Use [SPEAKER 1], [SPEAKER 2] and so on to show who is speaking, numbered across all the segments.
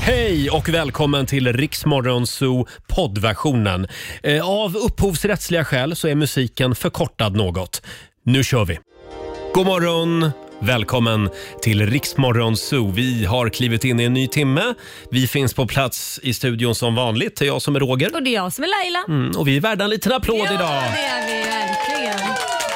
[SPEAKER 1] Hej och välkommen till Riksmorgon Zoo poddversionen. Eh, Av upphovsrättsliga skäl så är musiken förkortad något. Nu kör vi! God morgon! Välkommen till Riksmorgon Zoo. Vi har klivit in i en ny timme. Vi finns på plats i studion som vanligt. Det är jag som är Roger.
[SPEAKER 2] Och det är jag som är Laila.
[SPEAKER 1] Mm, och vi är värda en liten applåd idag.
[SPEAKER 2] Ja, det är vi verkligen.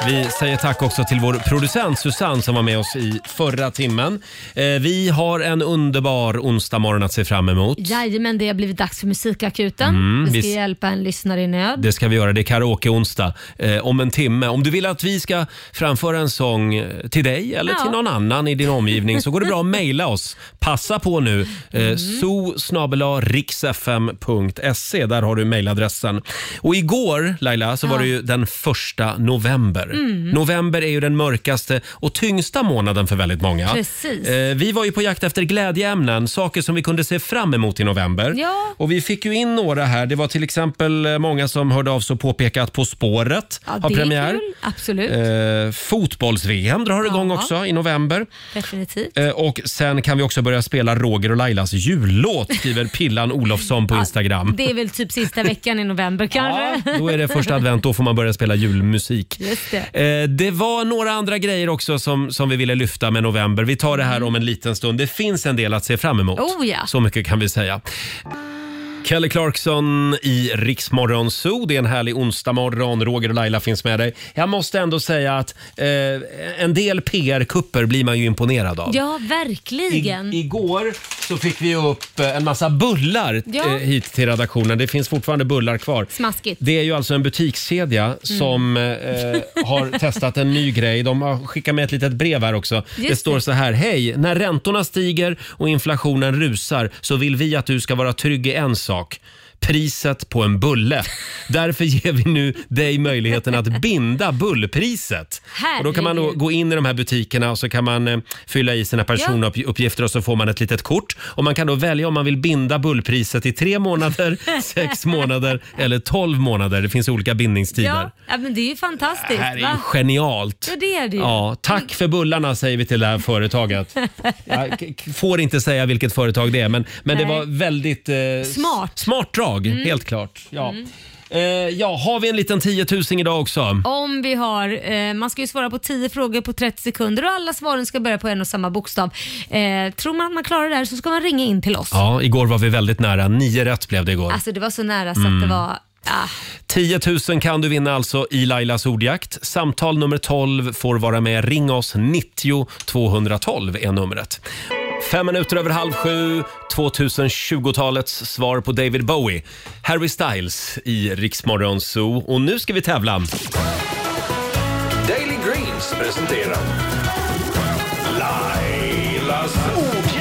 [SPEAKER 1] Vi säger tack också till vår producent Susanne som var med oss i förra timmen. Eh, Vi har en underbar onsdag morgon att se fram emot.
[SPEAKER 2] Jajamän, det har blivit dags för Musikakuten.
[SPEAKER 1] Mm,
[SPEAKER 2] vi ska
[SPEAKER 1] visst.
[SPEAKER 2] hjälpa en lyssnare i nöd.
[SPEAKER 1] Det ska vi göra. Det är karaoke-onsdag eh, om en timme. Om du vill att vi ska framföra en sång eh, till dig eller
[SPEAKER 2] Ja.
[SPEAKER 1] till någon annan i din omgivning så går det bra att mejla oss. Passa på nu. Eh,
[SPEAKER 2] Mm.
[SPEAKER 1] zoo.riksfm.se. Där har du mejladressen. Och igår, Laila, så var
[SPEAKER 2] Ja.
[SPEAKER 1] det ju den första november.
[SPEAKER 2] Mm.
[SPEAKER 1] November är ju den mörkaste och tyngsta månaden för väldigt många.
[SPEAKER 2] Precis.
[SPEAKER 1] Eh, vi var ju på jakt efter glädjeämnen, saker som vi kunde se fram emot i november.
[SPEAKER 2] Ja.
[SPEAKER 1] Och vi fick ju in några här. Det var till exempel eh, många som hörde av sig och påpekade att På spåret
[SPEAKER 2] Ja,
[SPEAKER 1] har
[SPEAKER 2] det är
[SPEAKER 1] premiär.
[SPEAKER 2] kul. Absolut.
[SPEAKER 1] Eh, Fotbolls-VM drar igång
[SPEAKER 2] Ja.
[SPEAKER 1] också i november.
[SPEAKER 2] Definitivt.
[SPEAKER 1] Eh, och sen kan vi också börja spela Roger och Lailas jullåt, skriver Pillan Olofsson på Instagram.
[SPEAKER 2] Det är väl typ sista veckan i november kanske.
[SPEAKER 1] Då är det första advent, då får man börja spela julmusik.
[SPEAKER 2] Just det.
[SPEAKER 1] Eh, Det var några andra grejer också som, som vi ville lyfta med november. Vi tar det här om en liten stund. Det finns en del att se fram emot.
[SPEAKER 2] Oh ja.
[SPEAKER 1] Så mycket kan vi säga. Kelly Clarkson i Riksmorgon Zoo. Det är en härlig onsdagmorgon. Roger och Laila finns med dig. Jag måste ändå säga att eh, en del PR-kupper blir man ju imponerad av.
[SPEAKER 2] Ja, verkligen.
[SPEAKER 1] I, igår så fick vi upp eh, en massa bullar
[SPEAKER 2] Ja.
[SPEAKER 1] eh, hit till redaktionen. Det finns fortfarande bullar kvar.
[SPEAKER 2] Smaskigt. Mm.
[SPEAKER 1] Det är ju alltså en butikskedja som eh, har testat en ny grej. De har skickat med ett litet brev här också. det
[SPEAKER 2] Just
[SPEAKER 1] står
[SPEAKER 2] det.
[SPEAKER 1] så här. Hej! När räntorna stiger och inflationen rusar så vill vi att du ska vara trygg i en sak. Priset på en bulle. Därför ger vi nu dig möjligheten att binda bullpriset. Och då kan man då
[SPEAKER 2] Herregud.
[SPEAKER 1] gå in i de här butikerna och så kan man eh, fylla i sina personuppgifter och så får man ett litet kort. Och man kan då välja om man vill binda bullpriset i tre månader, sex månader eller tolv månader. Det finns olika bindningstider.
[SPEAKER 2] Ja, ja, men det är ju fantastiskt.
[SPEAKER 1] Det här är ju
[SPEAKER 2] va?
[SPEAKER 1] genialt.
[SPEAKER 2] Ja, det är det ju.
[SPEAKER 1] Ja, tack för bullarna säger vi till det här företaget. Jag k- k- får inte säga vilket företag det är, men, men det
[SPEAKER 2] Nej.
[SPEAKER 1] var väldigt eh, s-
[SPEAKER 2] Smart. Mm.
[SPEAKER 1] smart drag, helt klart. Ja. Eh, ja, har vi en liten 10 000 idag också?
[SPEAKER 2] Om vi har, eh, man ska ju svara på 10 frågor på 30 sekunder och alla svaren ska börja på en och samma bokstav. Eh, tror man att man klarar det här så ska man ringa in till oss.
[SPEAKER 1] Ja, igår var vi väldigt nära. Nio rätt blev det igår.
[SPEAKER 2] Alltså det var så nära så
[SPEAKER 1] Mm.
[SPEAKER 2] att det var... Ah.
[SPEAKER 1] 10 000 kan du vinna alltså i Lailas ordjakt. Samtal nummer 12 får vara med. Ring oss. 90 212 är numret. Fem minuter över halv sju, 2020-talets svar på David Bowie. Harry Styles i Riksmorgon Zoo. Och nu ska vi tävla.
[SPEAKER 3] Daily Greens presenterar Lailas ordjakt.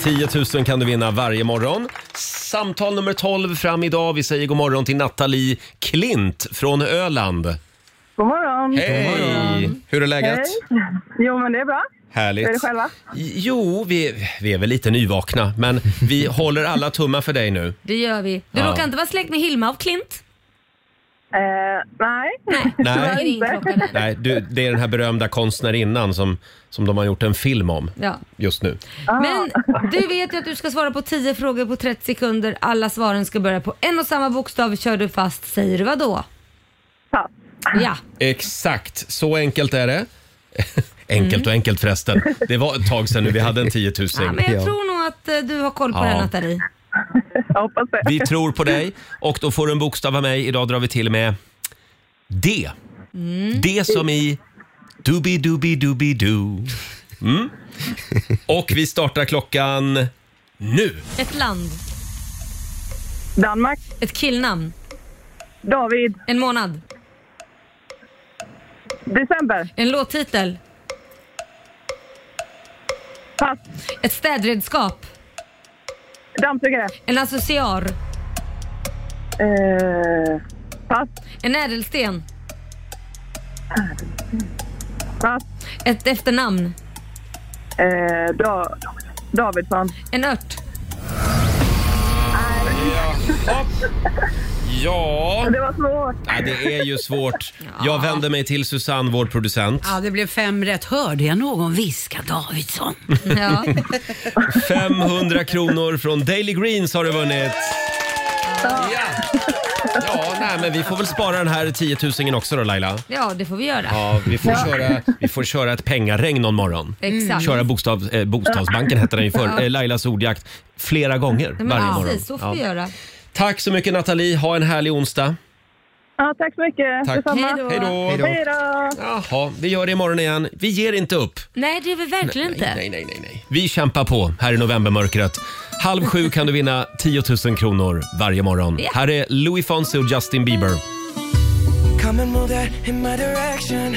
[SPEAKER 1] 10 000 kan du vinna varje morgon. Samtal nummer 12 fram idag. Vi säger god morgon till Nathalie Klint från Öland.
[SPEAKER 4] God morgon.
[SPEAKER 1] Hej! Hur är läget?
[SPEAKER 4] Hej. Jo, men det är bra.
[SPEAKER 1] Härligt.
[SPEAKER 4] Hur är det själva?
[SPEAKER 1] Jo, vi, vi är väl lite nyvakna, men vi håller alla tummar för dig nu.
[SPEAKER 2] Det gör vi. Du
[SPEAKER 1] Ja.
[SPEAKER 2] råkar inte vara släkt med Hilma av Klint?
[SPEAKER 4] Eh, nej.
[SPEAKER 2] Nej.
[SPEAKER 1] Nej.
[SPEAKER 2] Det är ingen klocka där.
[SPEAKER 1] Nej, du, det är den här berömda konstnärinnan som, som de har gjort en film om
[SPEAKER 2] Ja.
[SPEAKER 1] just nu.
[SPEAKER 2] Men du vet ju att du ska svara på 10 frågor på 30 sekunder. Alla svaren ska börja på en och samma bokstav. Kör du fast säger du vad då?
[SPEAKER 4] Pass.
[SPEAKER 2] Ja.
[SPEAKER 1] Exakt, så enkelt är det. Enkelt och enkelt förresten. Det var ett tag sedan nu vi hade en 10 000.
[SPEAKER 2] ja men jag tror nog att eh, du har koll på
[SPEAKER 1] Ja.
[SPEAKER 2] det här Nathalie.
[SPEAKER 4] Jag hoppas det.
[SPEAKER 1] Vi tror på dig och då får du en bokstav av mig. Idag drar vi till med D. D som i dubi dubi dubi du. Mm. Och vi startar klockan nu.
[SPEAKER 2] Ett land.
[SPEAKER 4] Danmark.
[SPEAKER 2] Ett killnamn.
[SPEAKER 4] David.
[SPEAKER 2] En månad.
[SPEAKER 4] December.
[SPEAKER 2] En låttitel.
[SPEAKER 4] Pass.
[SPEAKER 2] Ett städredskap.
[SPEAKER 4] Dammsugare.
[SPEAKER 2] En associar.
[SPEAKER 4] Eh, pass.
[SPEAKER 2] En ädelsten.
[SPEAKER 4] Pass.
[SPEAKER 2] Ett efternamn.
[SPEAKER 4] Eh, da- Davidsson.
[SPEAKER 2] En ört.
[SPEAKER 1] Jaha. Ja,
[SPEAKER 4] Det var svårt.
[SPEAKER 1] ja, det är ju svårt. Jag vänder mig till Susanne, vår producent.
[SPEAKER 5] Ja, det blev fem rätt. Hörde jag någon viska Davidsson?
[SPEAKER 2] Ja.
[SPEAKER 1] 500 kronor från Daily Greens har du vunnit. Ja, ja nej, men vi får väl spara den här 10 000 också då Laila.
[SPEAKER 2] ja, det får vi göra.
[SPEAKER 1] Ja, vi får, köra, vi får köra ett pengaregn någon morgon.
[SPEAKER 2] Exakt.
[SPEAKER 1] Köra bostav, eh, Bostadsbanken hette den ju förr, eh, Lailas ordjakt, flera gånger
[SPEAKER 2] Men
[SPEAKER 1] varje morgon.
[SPEAKER 2] precis, så får vi
[SPEAKER 1] Ja.
[SPEAKER 2] göra.
[SPEAKER 1] Tack så mycket Nathalie, ha en härlig onsdag.
[SPEAKER 4] Ja, tack så mycket.
[SPEAKER 1] Tack.
[SPEAKER 4] Detsamma.
[SPEAKER 2] Hej då.
[SPEAKER 1] Hej då!
[SPEAKER 4] Hej då.
[SPEAKER 1] Jaha, vi gör det imorgon igen. Vi ger inte upp.
[SPEAKER 2] Nej, det är vi verkligen inte.
[SPEAKER 1] Nej, nej, nej, nej. Vi kämpar på här i novembermörkret. Halv sju kan du vinna 10 000 kronor varje morgon.
[SPEAKER 2] Ja.
[SPEAKER 1] Här är Louis Fonsi och Justin Bieber.
[SPEAKER 6] Come and move that in my direction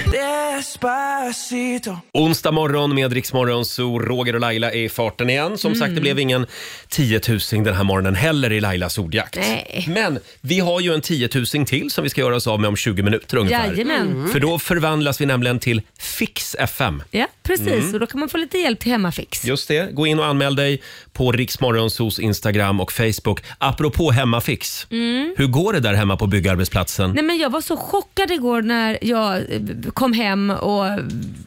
[SPEAKER 6] Despacito
[SPEAKER 1] Onsdag morgon med Rix Morgon, så Roger och Laila är i farten igen. Som sagt,
[SPEAKER 2] Mm.
[SPEAKER 1] det blev ingen 10 000 den här morgonen heller i Lailas ordjakt.
[SPEAKER 2] Nej.
[SPEAKER 1] Men vi har ju en 10 000 till som vi ska göra oss av med om 20 minuter ungefär. Mm.
[SPEAKER 2] Jajamän.
[SPEAKER 1] För då förvandlas vi nämligen till Fix FM.
[SPEAKER 2] Ja, precis.
[SPEAKER 1] Mm.
[SPEAKER 2] Och då kan man få lite hjälp till hemmafix.
[SPEAKER 1] Just det. Gå in och anmäl dig på Riksmorgonsos Instagram och Facebook. Apropå hemmafix. Hur går det där hemma på byggarbetsplatsen?
[SPEAKER 2] Mm. Nej, men jag var så chockad igår när jag eh, kom hem och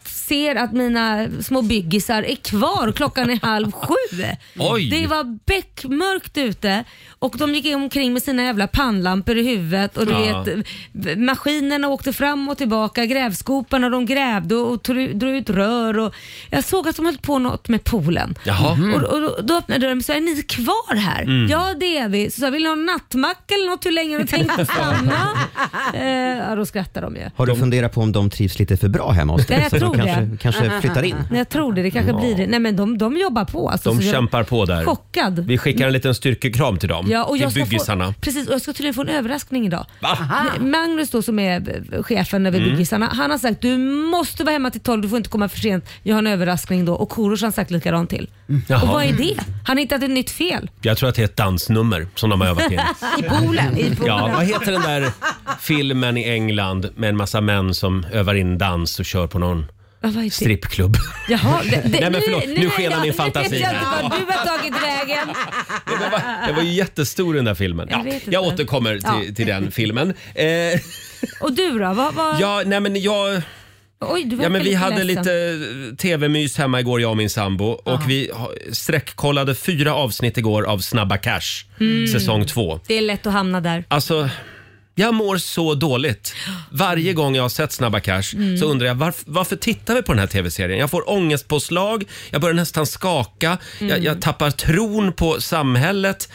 [SPEAKER 2] ser att mina små byggisar är kvar. Klockan är halv sju.
[SPEAKER 1] Oj.
[SPEAKER 2] Det var beckmörkt ute och de gick omkring med sina jävla pannlampor i huvudet och du
[SPEAKER 1] Ja.
[SPEAKER 2] vet, v- maskinerna åkte fram och tillbaka, grävskoporna de grävde och tr- drog ut rör. Och jag såg att de höll på något med poolen.
[SPEAKER 1] Jaha.
[SPEAKER 2] Och, och då, då öppnade dörren och sa, är ni kvar här?
[SPEAKER 1] Mm.
[SPEAKER 2] Ja det är vi. Så sa jag, vill ni ha en nattmacka eller något? Hur länge har ni tänkt stanna? eh, ja, då skrattar de ju.
[SPEAKER 7] Har du funderat på om de trivs lite för bra hemma hos dig?
[SPEAKER 2] Ja, jag
[SPEAKER 7] så
[SPEAKER 2] tror
[SPEAKER 7] de kanske,
[SPEAKER 2] det.
[SPEAKER 7] kanske flyttar in?
[SPEAKER 2] Nej, jag tror det, det kanske blir det. Nej men de, de jobbar på. Alltså,
[SPEAKER 1] De
[SPEAKER 2] så jag-
[SPEAKER 1] kämpar på där.
[SPEAKER 2] Chockad.
[SPEAKER 1] Vi skickar en liten styrkekram till dem.
[SPEAKER 2] Ja, och jag
[SPEAKER 1] till
[SPEAKER 2] ska få,
[SPEAKER 1] byggisarna.
[SPEAKER 2] precis, och jag ska tydligen få en överraskning idag.
[SPEAKER 1] Va? Mm.
[SPEAKER 2] Magnus då som är eh, chefen över byggisarna, han har sagt du måste vara hemma till 12, du får inte komma för sent. Jag har en överraskning då och Korosh har sagt likadant till. Och
[SPEAKER 1] Mm. Jaha.
[SPEAKER 2] vad är det? Han har hittat ett nytt fel.
[SPEAKER 1] Jag tror att det är ett dansnummer som de har övat in.
[SPEAKER 5] I poolen. I poolen.
[SPEAKER 1] Ja, vad heter den där filmen i England med en massa män som övar in dans och kör på någon
[SPEAKER 2] Ja, vad är det?
[SPEAKER 1] strippklubb?
[SPEAKER 2] Jaha, det, det,
[SPEAKER 1] Nej, men förlåt, nu
[SPEAKER 2] är
[SPEAKER 1] skenar
[SPEAKER 2] jag-
[SPEAKER 1] min fantasi
[SPEAKER 2] Nu vet jag
[SPEAKER 1] här.
[SPEAKER 2] inte var du har tagit vägen.
[SPEAKER 1] Det var, det var ju jättestor den där filmen.
[SPEAKER 2] Jag
[SPEAKER 1] Ja,
[SPEAKER 2] vet inte.
[SPEAKER 1] jag återkommer till,
[SPEAKER 2] Ja.
[SPEAKER 1] till den filmen. Eh,
[SPEAKER 2] Och du då? Vad, vad,
[SPEAKER 1] ja, nej men jag...
[SPEAKER 2] oj, du var
[SPEAKER 1] Ja, men
[SPEAKER 2] lite
[SPEAKER 1] vi hade
[SPEAKER 2] ledsen.
[SPEAKER 1] lite eh, tv-mys hemma igår, jag och min sambo. Och vi ha- sträckkollade fyra avsnitt igår av Snabba Cash,
[SPEAKER 2] Mm.
[SPEAKER 1] säsong två.
[SPEAKER 2] Det är lätt att hamna där.
[SPEAKER 1] Alltså, jag mår så dåligt. Varje gång jag har sett Snabba Cash
[SPEAKER 2] Mm.
[SPEAKER 1] så undrar jag varf- varför tittar vi på den här tv-serien? Jag får ångestpåslag, jag börjar nästan skaka, jag,
[SPEAKER 2] Mm.
[SPEAKER 1] jag tappar tron på samhället.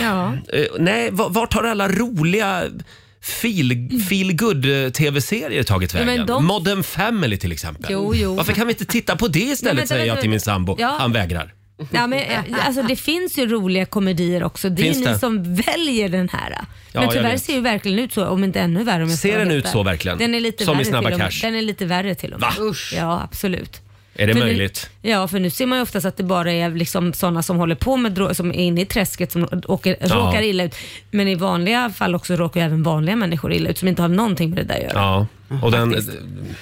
[SPEAKER 2] Ja.
[SPEAKER 1] Eh, nej, va- vart har alla roliga feel, feel good eh, tv-serier tagit
[SPEAKER 2] men
[SPEAKER 1] vägen?
[SPEAKER 2] de-
[SPEAKER 1] Modern Family till exempel.
[SPEAKER 2] Jo, jo.
[SPEAKER 1] Varför kan vi inte titta på det istället
[SPEAKER 2] Nej, men-
[SPEAKER 1] säger jag till min sambo.
[SPEAKER 2] Ja.
[SPEAKER 1] Han vägrar.
[SPEAKER 2] Ja, men, eh, alltså, det finns ju roliga komedier också. Det är
[SPEAKER 1] Finns
[SPEAKER 2] ju
[SPEAKER 1] det?
[SPEAKER 2] ni som väljer den här. Men
[SPEAKER 1] jag
[SPEAKER 2] tyvärr
[SPEAKER 1] vet.
[SPEAKER 2] ser ju verkligen ut så, om inte ännu värre. Om jag ska
[SPEAKER 1] Ser den
[SPEAKER 2] vara
[SPEAKER 1] ut
[SPEAKER 2] helt
[SPEAKER 1] så
[SPEAKER 2] ärlig.
[SPEAKER 1] verkligen?
[SPEAKER 2] Den är lite
[SPEAKER 1] Som i
[SPEAKER 2] värre
[SPEAKER 1] Snabba
[SPEAKER 2] till och med.
[SPEAKER 1] Cash?
[SPEAKER 2] Den är lite värre till och med.
[SPEAKER 1] Va?
[SPEAKER 2] Ja, absolut.
[SPEAKER 1] Är det
[SPEAKER 2] För
[SPEAKER 1] möjligt?
[SPEAKER 2] Nu, ja, för nu ser man ju oftast att det bara är liksom sådana som håller på med dro- som är inne i träsket som åker, råkar illa ut. Men i vanliga fall också råkar ju även vanliga människor illa ut som inte har någonting med det där att göra.
[SPEAKER 1] Ja. Och den,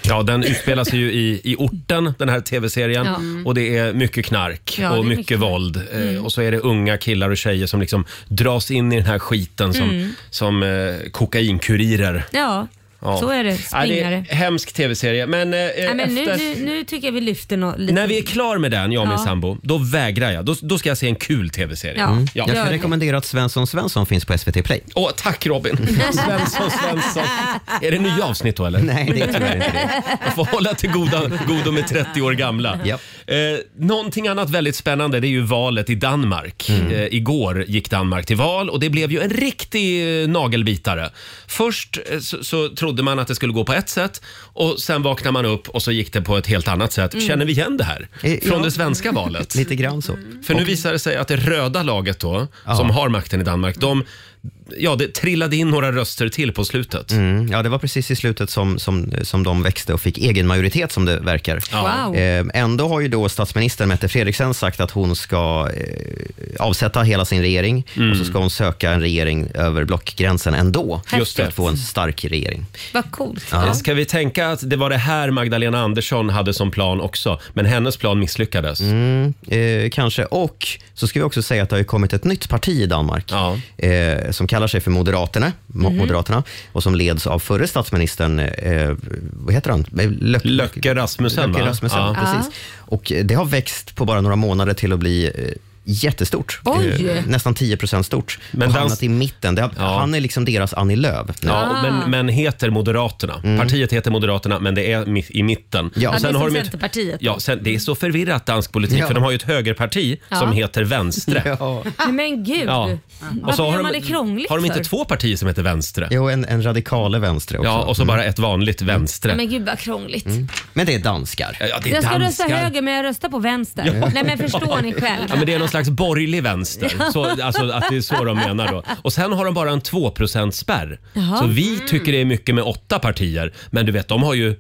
[SPEAKER 1] ja, den utspelar sig ju i, i orten, den här tv-serien.
[SPEAKER 2] Ja.
[SPEAKER 1] Och det är mycket knark
[SPEAKER 2] Mm. Ja, det
[SPEAKER 1] och
[SPEAKER 2] är
[SPEAKER 1] mycket,
[SPEAKER 2] mycket knark. Mm.
[SPEAKER 1] våld. Eh, Och så är det unga killar och tjejer som liksom dras in i den här skiten som,
[SPEAKER 2] Mm.
[SPEAKER 1] som eh, kokainkurirer.
[SPEAKER 2] Ja,
[SPEAKER 1] Ja.
[SPEAKER 2] så är det.
[SPEAKER 1] Ja, det
[SPEAKER 2] Springare.
[SPEAKER 1] är hemsk tv-serie. Men, eh,
[SPEAKER 2] Nej, men nu,
[SPEAKER 1] efter...
[SPEAKER 2] nu, nu tycker jag vi lyfter något lite.
[SPEAKER 1] När vi är klar med den, jag och min
[SPEAKER 2] Ja.
[SPEAKER 1] sambo, då vägrar jag. Då, då ska jag se en kul tv-serie.
[SPEAKER 2] Ja.
[SPEAKER 1] Åh,
[SPEAKER 2] Mm.
[SPEAKER 1] Ja.
[SPEAKER 7] Jag
[SPEAKER 2] Gör
[SPEAKER 7] kan
[SPEAKER 2] det.
[SPEAKER 7] rekommendera att Svensson Svensson finns på SVT Play.
[SPEAKER 1] Åh, tack Robin! Svensson, Svensson. Är det nya avsnitt då eller?
[SPEAKER 7] Nej, det är tyvärr inte det.
[SPEAKER 1] Jag får hålla till goda, godo med 30 år gamla.
[SPEAKER 7] Ja.
[SPEAKER 1] Eh, någonting annat väldigt spännande det är ju valet i Danmark.
[SPEAKER 7] Mm.
[SPEAKER 1] Eh, igår gick Danmark till val och det blev ju en riktig eh, nagelbitare. Först eh, så, så trodde man att det skulle gå på ett sätt och sen vaknade man upp och så gick det på ett helt annat sätt. Känner vi igen det här?
[SPEAKER 7] Mm. Eh,
[SPEAKER 1] Från
[SPEAKER 7] ja.
[SPEAKER 1] det svenska valet?
[SPEAKER 2] Mm.
[SPEAKER 7] Lite grann så.
[SPEAKER 1] För nu visar det sig att det röda laget då, som har makten i Danmark, de, ja, det trillade in några röster till på slutet.
[SPEAKER 7] Mm, ja, det var precis i slutet som, som, som de växte och fick egen majoritet som det verkar.
[SPEAKER 2] Ja. Wow.
[SPEAKER 7] Eh, ändå har ju då statsminister Mette Frederiksen sagt att hon ska eh, avsätta hela sin regering och
[SPEAKER 2] Mm.
[SPEAKER 7] så ska hon söka en regering över blockgränsen ändå.
[SPEAKER 1] Just det.
[SPEAKER 7] För att få en stark regering.
[SPEAKER 2] Vad coolt.
[SPEAKER 7] Ja.
[SPEAKER 1] Eh, Ska vi tänka att det var det här Magdalena Andersson hade som plan också, men hennes plan misslyckades.
[SPEAKER 7] Eh, kanske. Och så ska vi också säga att det har ju kommit ett nytt parti i Danmark
[SPEAKER 1] Ja.
[SPEAKER 7] eh, som kallar sig för Moderaterna, Mo- Moderaterna och som leds av förre statsministern, eh, vad heter han? Lö-
[SPEAKER 1] Lökke Rasmussen,
[SPEAKER 7] Lökke
[SPEAKER 1] va?
[SPEAKER 7] Rasmussen
[SPEAKER 1] Ja.
[SPEAKER 7] precis. Och eh, det har växt på bara några månader till att bli eh, jättestort.
[SPEAKER 2] Oj.
[SPEAKER 7] Eh, nästan 10 procent stort.
[SPEAKER 1] Men
[SPEAKER 7] och
[SPEAKER 1] dans-
[SPEAKER 7] hamnat i mitten. Det har,
[SPEAKER 1] Ja.
[SPEAKER 7] Han är liksom deras Annie Lööf. nu.
[SPEAKER 1] Ja, och
[SPEAKER 2] Ah.
[SPEAKER 1] men, men heter Moderaterna. Partiet heter Moderaterna, men det är mi- i mitten.
[SPEAKER 7] Mm. Ja.
[SPEAKER 1] Och
[SPEAKER 7] Ja,
[SPEAKER 2] det är som
[SPEAKER 1] de ett-
[SPEAKER 2] Centerpartiet.
[SPEAKER 1] Ja, sen, det är så förvirrat dansk politik,
[SPEAKER 7] Ja.
[SPEAKER 1] för de har ju ett högerparti som heter Vänstre. Ja.
[SPEAKER 7] Ja.
[SPEAKER 2] Nej, men gud.
[SPEAKER 1] Och
[SPEAKER 2] Varför
[SPEAKER 1] så har,
[SPEAKER 2] gör
[SPEAKER 1] de,
[SPEAKER 2] man det krångligt
[SPEAKER 1] har de inte
[SPEAKER 2] för?
[SPEAKER 1] två partier som heter Vänstre?
[SPEAKER 7] Jo, en, en radikale vänster också.
[SPEAKER 1] Ja, och så bara ett vanligt Vänstre.
[SPEAKER 2] Nej, men gud vad krångligt.
[SPEAKER 7] Men det är danskar.
[SPEAKER 1] Ja, det är
[SPEAKER 2] Jag ska rösta
[SPEAKER 1] Mm. danskar.
[SPEAKER 2] höger men jag röstar på vänster. Nej men förstår ni själv.
[SPEAKER 1] Ja, men det är någon slags borgerlig vänster. Så, alltså, att det är så de menar då. Och sen har de bara en 2%-spärr.
[SPEAKER 2] Jaha.
[SPEAKER 1] Så vi tycker det är mycket med åtta partier. Men du vet, de har ju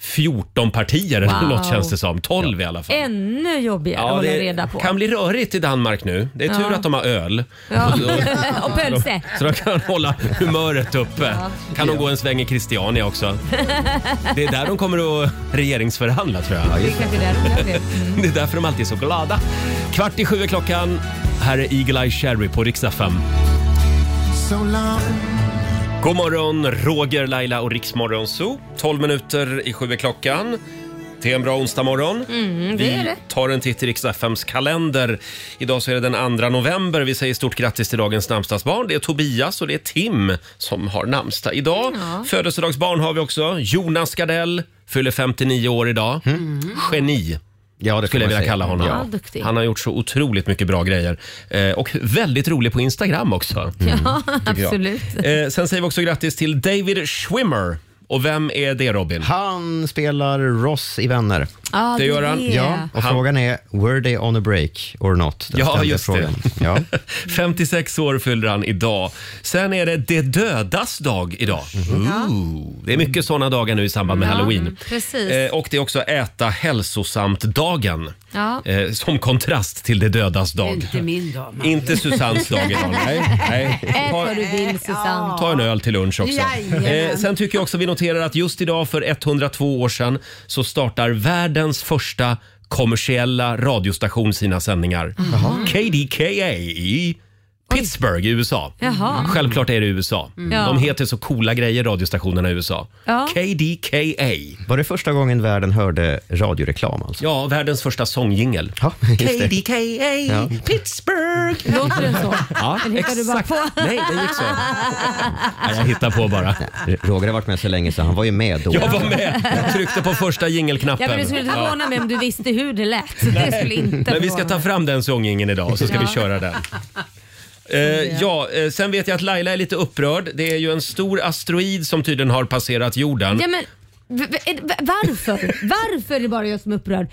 [SPEAKER 1] 14 partier eller
[SPEAKER 2] Wow.
[SPEAKER 1] något känns det som. 12 i alla fall.
[SPEAKER 2] Ännu jobbigare att hålla reda på.
[SPEAKER 1] kan bli rörigt i Danmark nu. Det är tur att de har öl.
[SPEAKER 2] Ja.
[SPEAKER 1] Och- och-
[SPEAKER 2] Och pölse.
[SPEAKER 1] Så de kan hålla humöret uppe. Kan de gå en sväng i Christiania också. Det är där de kommer att regeringsförhandla tror jag.
[SPEAKER 2] Det är kanske det roliga blev.
[SPEAKER 1] Det är därför de alltid är så glada. Kvart i sju är klockan. Här är Eagle-Eye Cherry på riksdag 5. God morgon, Roger, Laila och Riksmorgon Zoo. 12 minuter i sju är klockan. Det är en bra onsdag morgon. vi tar en titt i riks FMs kalender. Idag så är det den 2 november. Vi säger stort grattis till dagens namnsdagsbarn. Det är Tobias och det är Tim som har namnsdag idag. Födelsedagsbarn har vi också. Jonas Gardell fyller 59 år idag. Geni
[SPEAKER 7] Ja, det får
[SPEAKER 1] Eh, skulle jag
[SPEAKER 7] man
[SPEAKER 1] vilja
[SPEAKER 7] säga.
[SPEAKER 1] kalla honom.
[SPEAKER 2] Ja, duktig.
[SPEAKER 1] Han har gjort så otroligt mycket bra grejer. Eh, och väldigt rolig på Instagram också.
[SPEAKER 2] Ja,
[SPEAKER 1] jag.
[SPEAKER 2] absolut.
[SPEAKER 1] Eh, sen säger vi också grattis till David Schwimmer. Och vem är det Robin?
[SPEAKER 7] Han spelar Ross i Vänner.
[SPEAKER 2] Ja,
[SPEAKER 1] Det gör han.
[SPEAKER 2] är-
[SPEAKER 7] Ja, och
[SPEAKER 1] Han-
[SPEAKER 7] frågan är, were they on a break or not? Den
[SPEAKER 1] Ja,
[SPEAKER 7] ständiga
[SPEAKER 1] just det.
[SPEAKER 7] Ja.
[SPEAKER 1] 56 år fyller han idag. Sen är det de dödas dag idag. Ooh. Det är mycket sådana dagar nu i samband med
[SPEAKER 2] Mhm. Ja,
[SPEAKER 1] halloween.
[SPEAKER 2] precis.
[SPEAKER 1] Eh, och det är också äta hälsosamt-dagen.
[SPEAKER 2] Ja.
[SPEAKER 1] Eh, som kontrast till de dödas dag.
[SPEAKER 5] Inte min dam.
[SPEAKER 1] Inte Susannes dag idag. Nej, nej.
[SPEAKER 2] Ät
[SPEAKER 1] Ta-
[SPEAKER 2] vad du vill Susanne.
[SPEAKER 1] Ta en öl till lunch också.
[SPEAKER 5] Jajamän.
[SPEAKER 1] Eh, sen tycker jag också vi noterar att just idag för 102 år sedan så startar världens första kommersiella radiostation sina sändningar. KDKA i Pittsburgh i USA.
[SPEAKER 2] Jaha.
[SPEAKER 1] Självklart är det USA.
[SPEAKER 2] Mm. Ja.
[SPEAKER 1] De heter så coola grejer radiostationerna i USA.
[SPEAKER 2] Ja.
[SPEAKER 1] KDKA.
[SPEAKER 7] Var det första gången världen hörde radioreklam alltså?
[SPEAKER 1] Ja, världens första sångjingel.
[SPEAKER 7] Ja, just det.
[SPEAKER 1] KDKA Pittsburgh.
[SPEAKER 2] Låter den så?
[SPEAKER 1] Ja,
[SPEAKER 2] Eller hittar du bara
[SPEAKER 1] exakt.
[SPEAKER 2] på?
[SPEAKER 1] Nej, det gick så. Nej, jag hittar på bara.
[SPEAKER 7] Roger har varit med så länge så han var ju med då.
[SPEAKER 1] Jag var med. Jag tryckte på första jingelknappen.
[SPEAKER 2] Ja, men det skulle inte förvåna mig om du visste hur det lät. Det skulle inte
[SPEAKER 1] Men vi ska ta
[SPEAKER 2] förvåna mig.
[SPEAKER 1] fram den sångingen idag och så ska
[SPEAKER 2] Ja.
[SPEAKER 1] vi köra den. Eh, ja, eh, sen vet jag att Laila är lite upprörd. Det är ju en stor asteroid som tydligen har passerat jorden.
[SPEAKER 2] Ja, men, v- v- v- varför? Varför är det bara jag som är upprörd?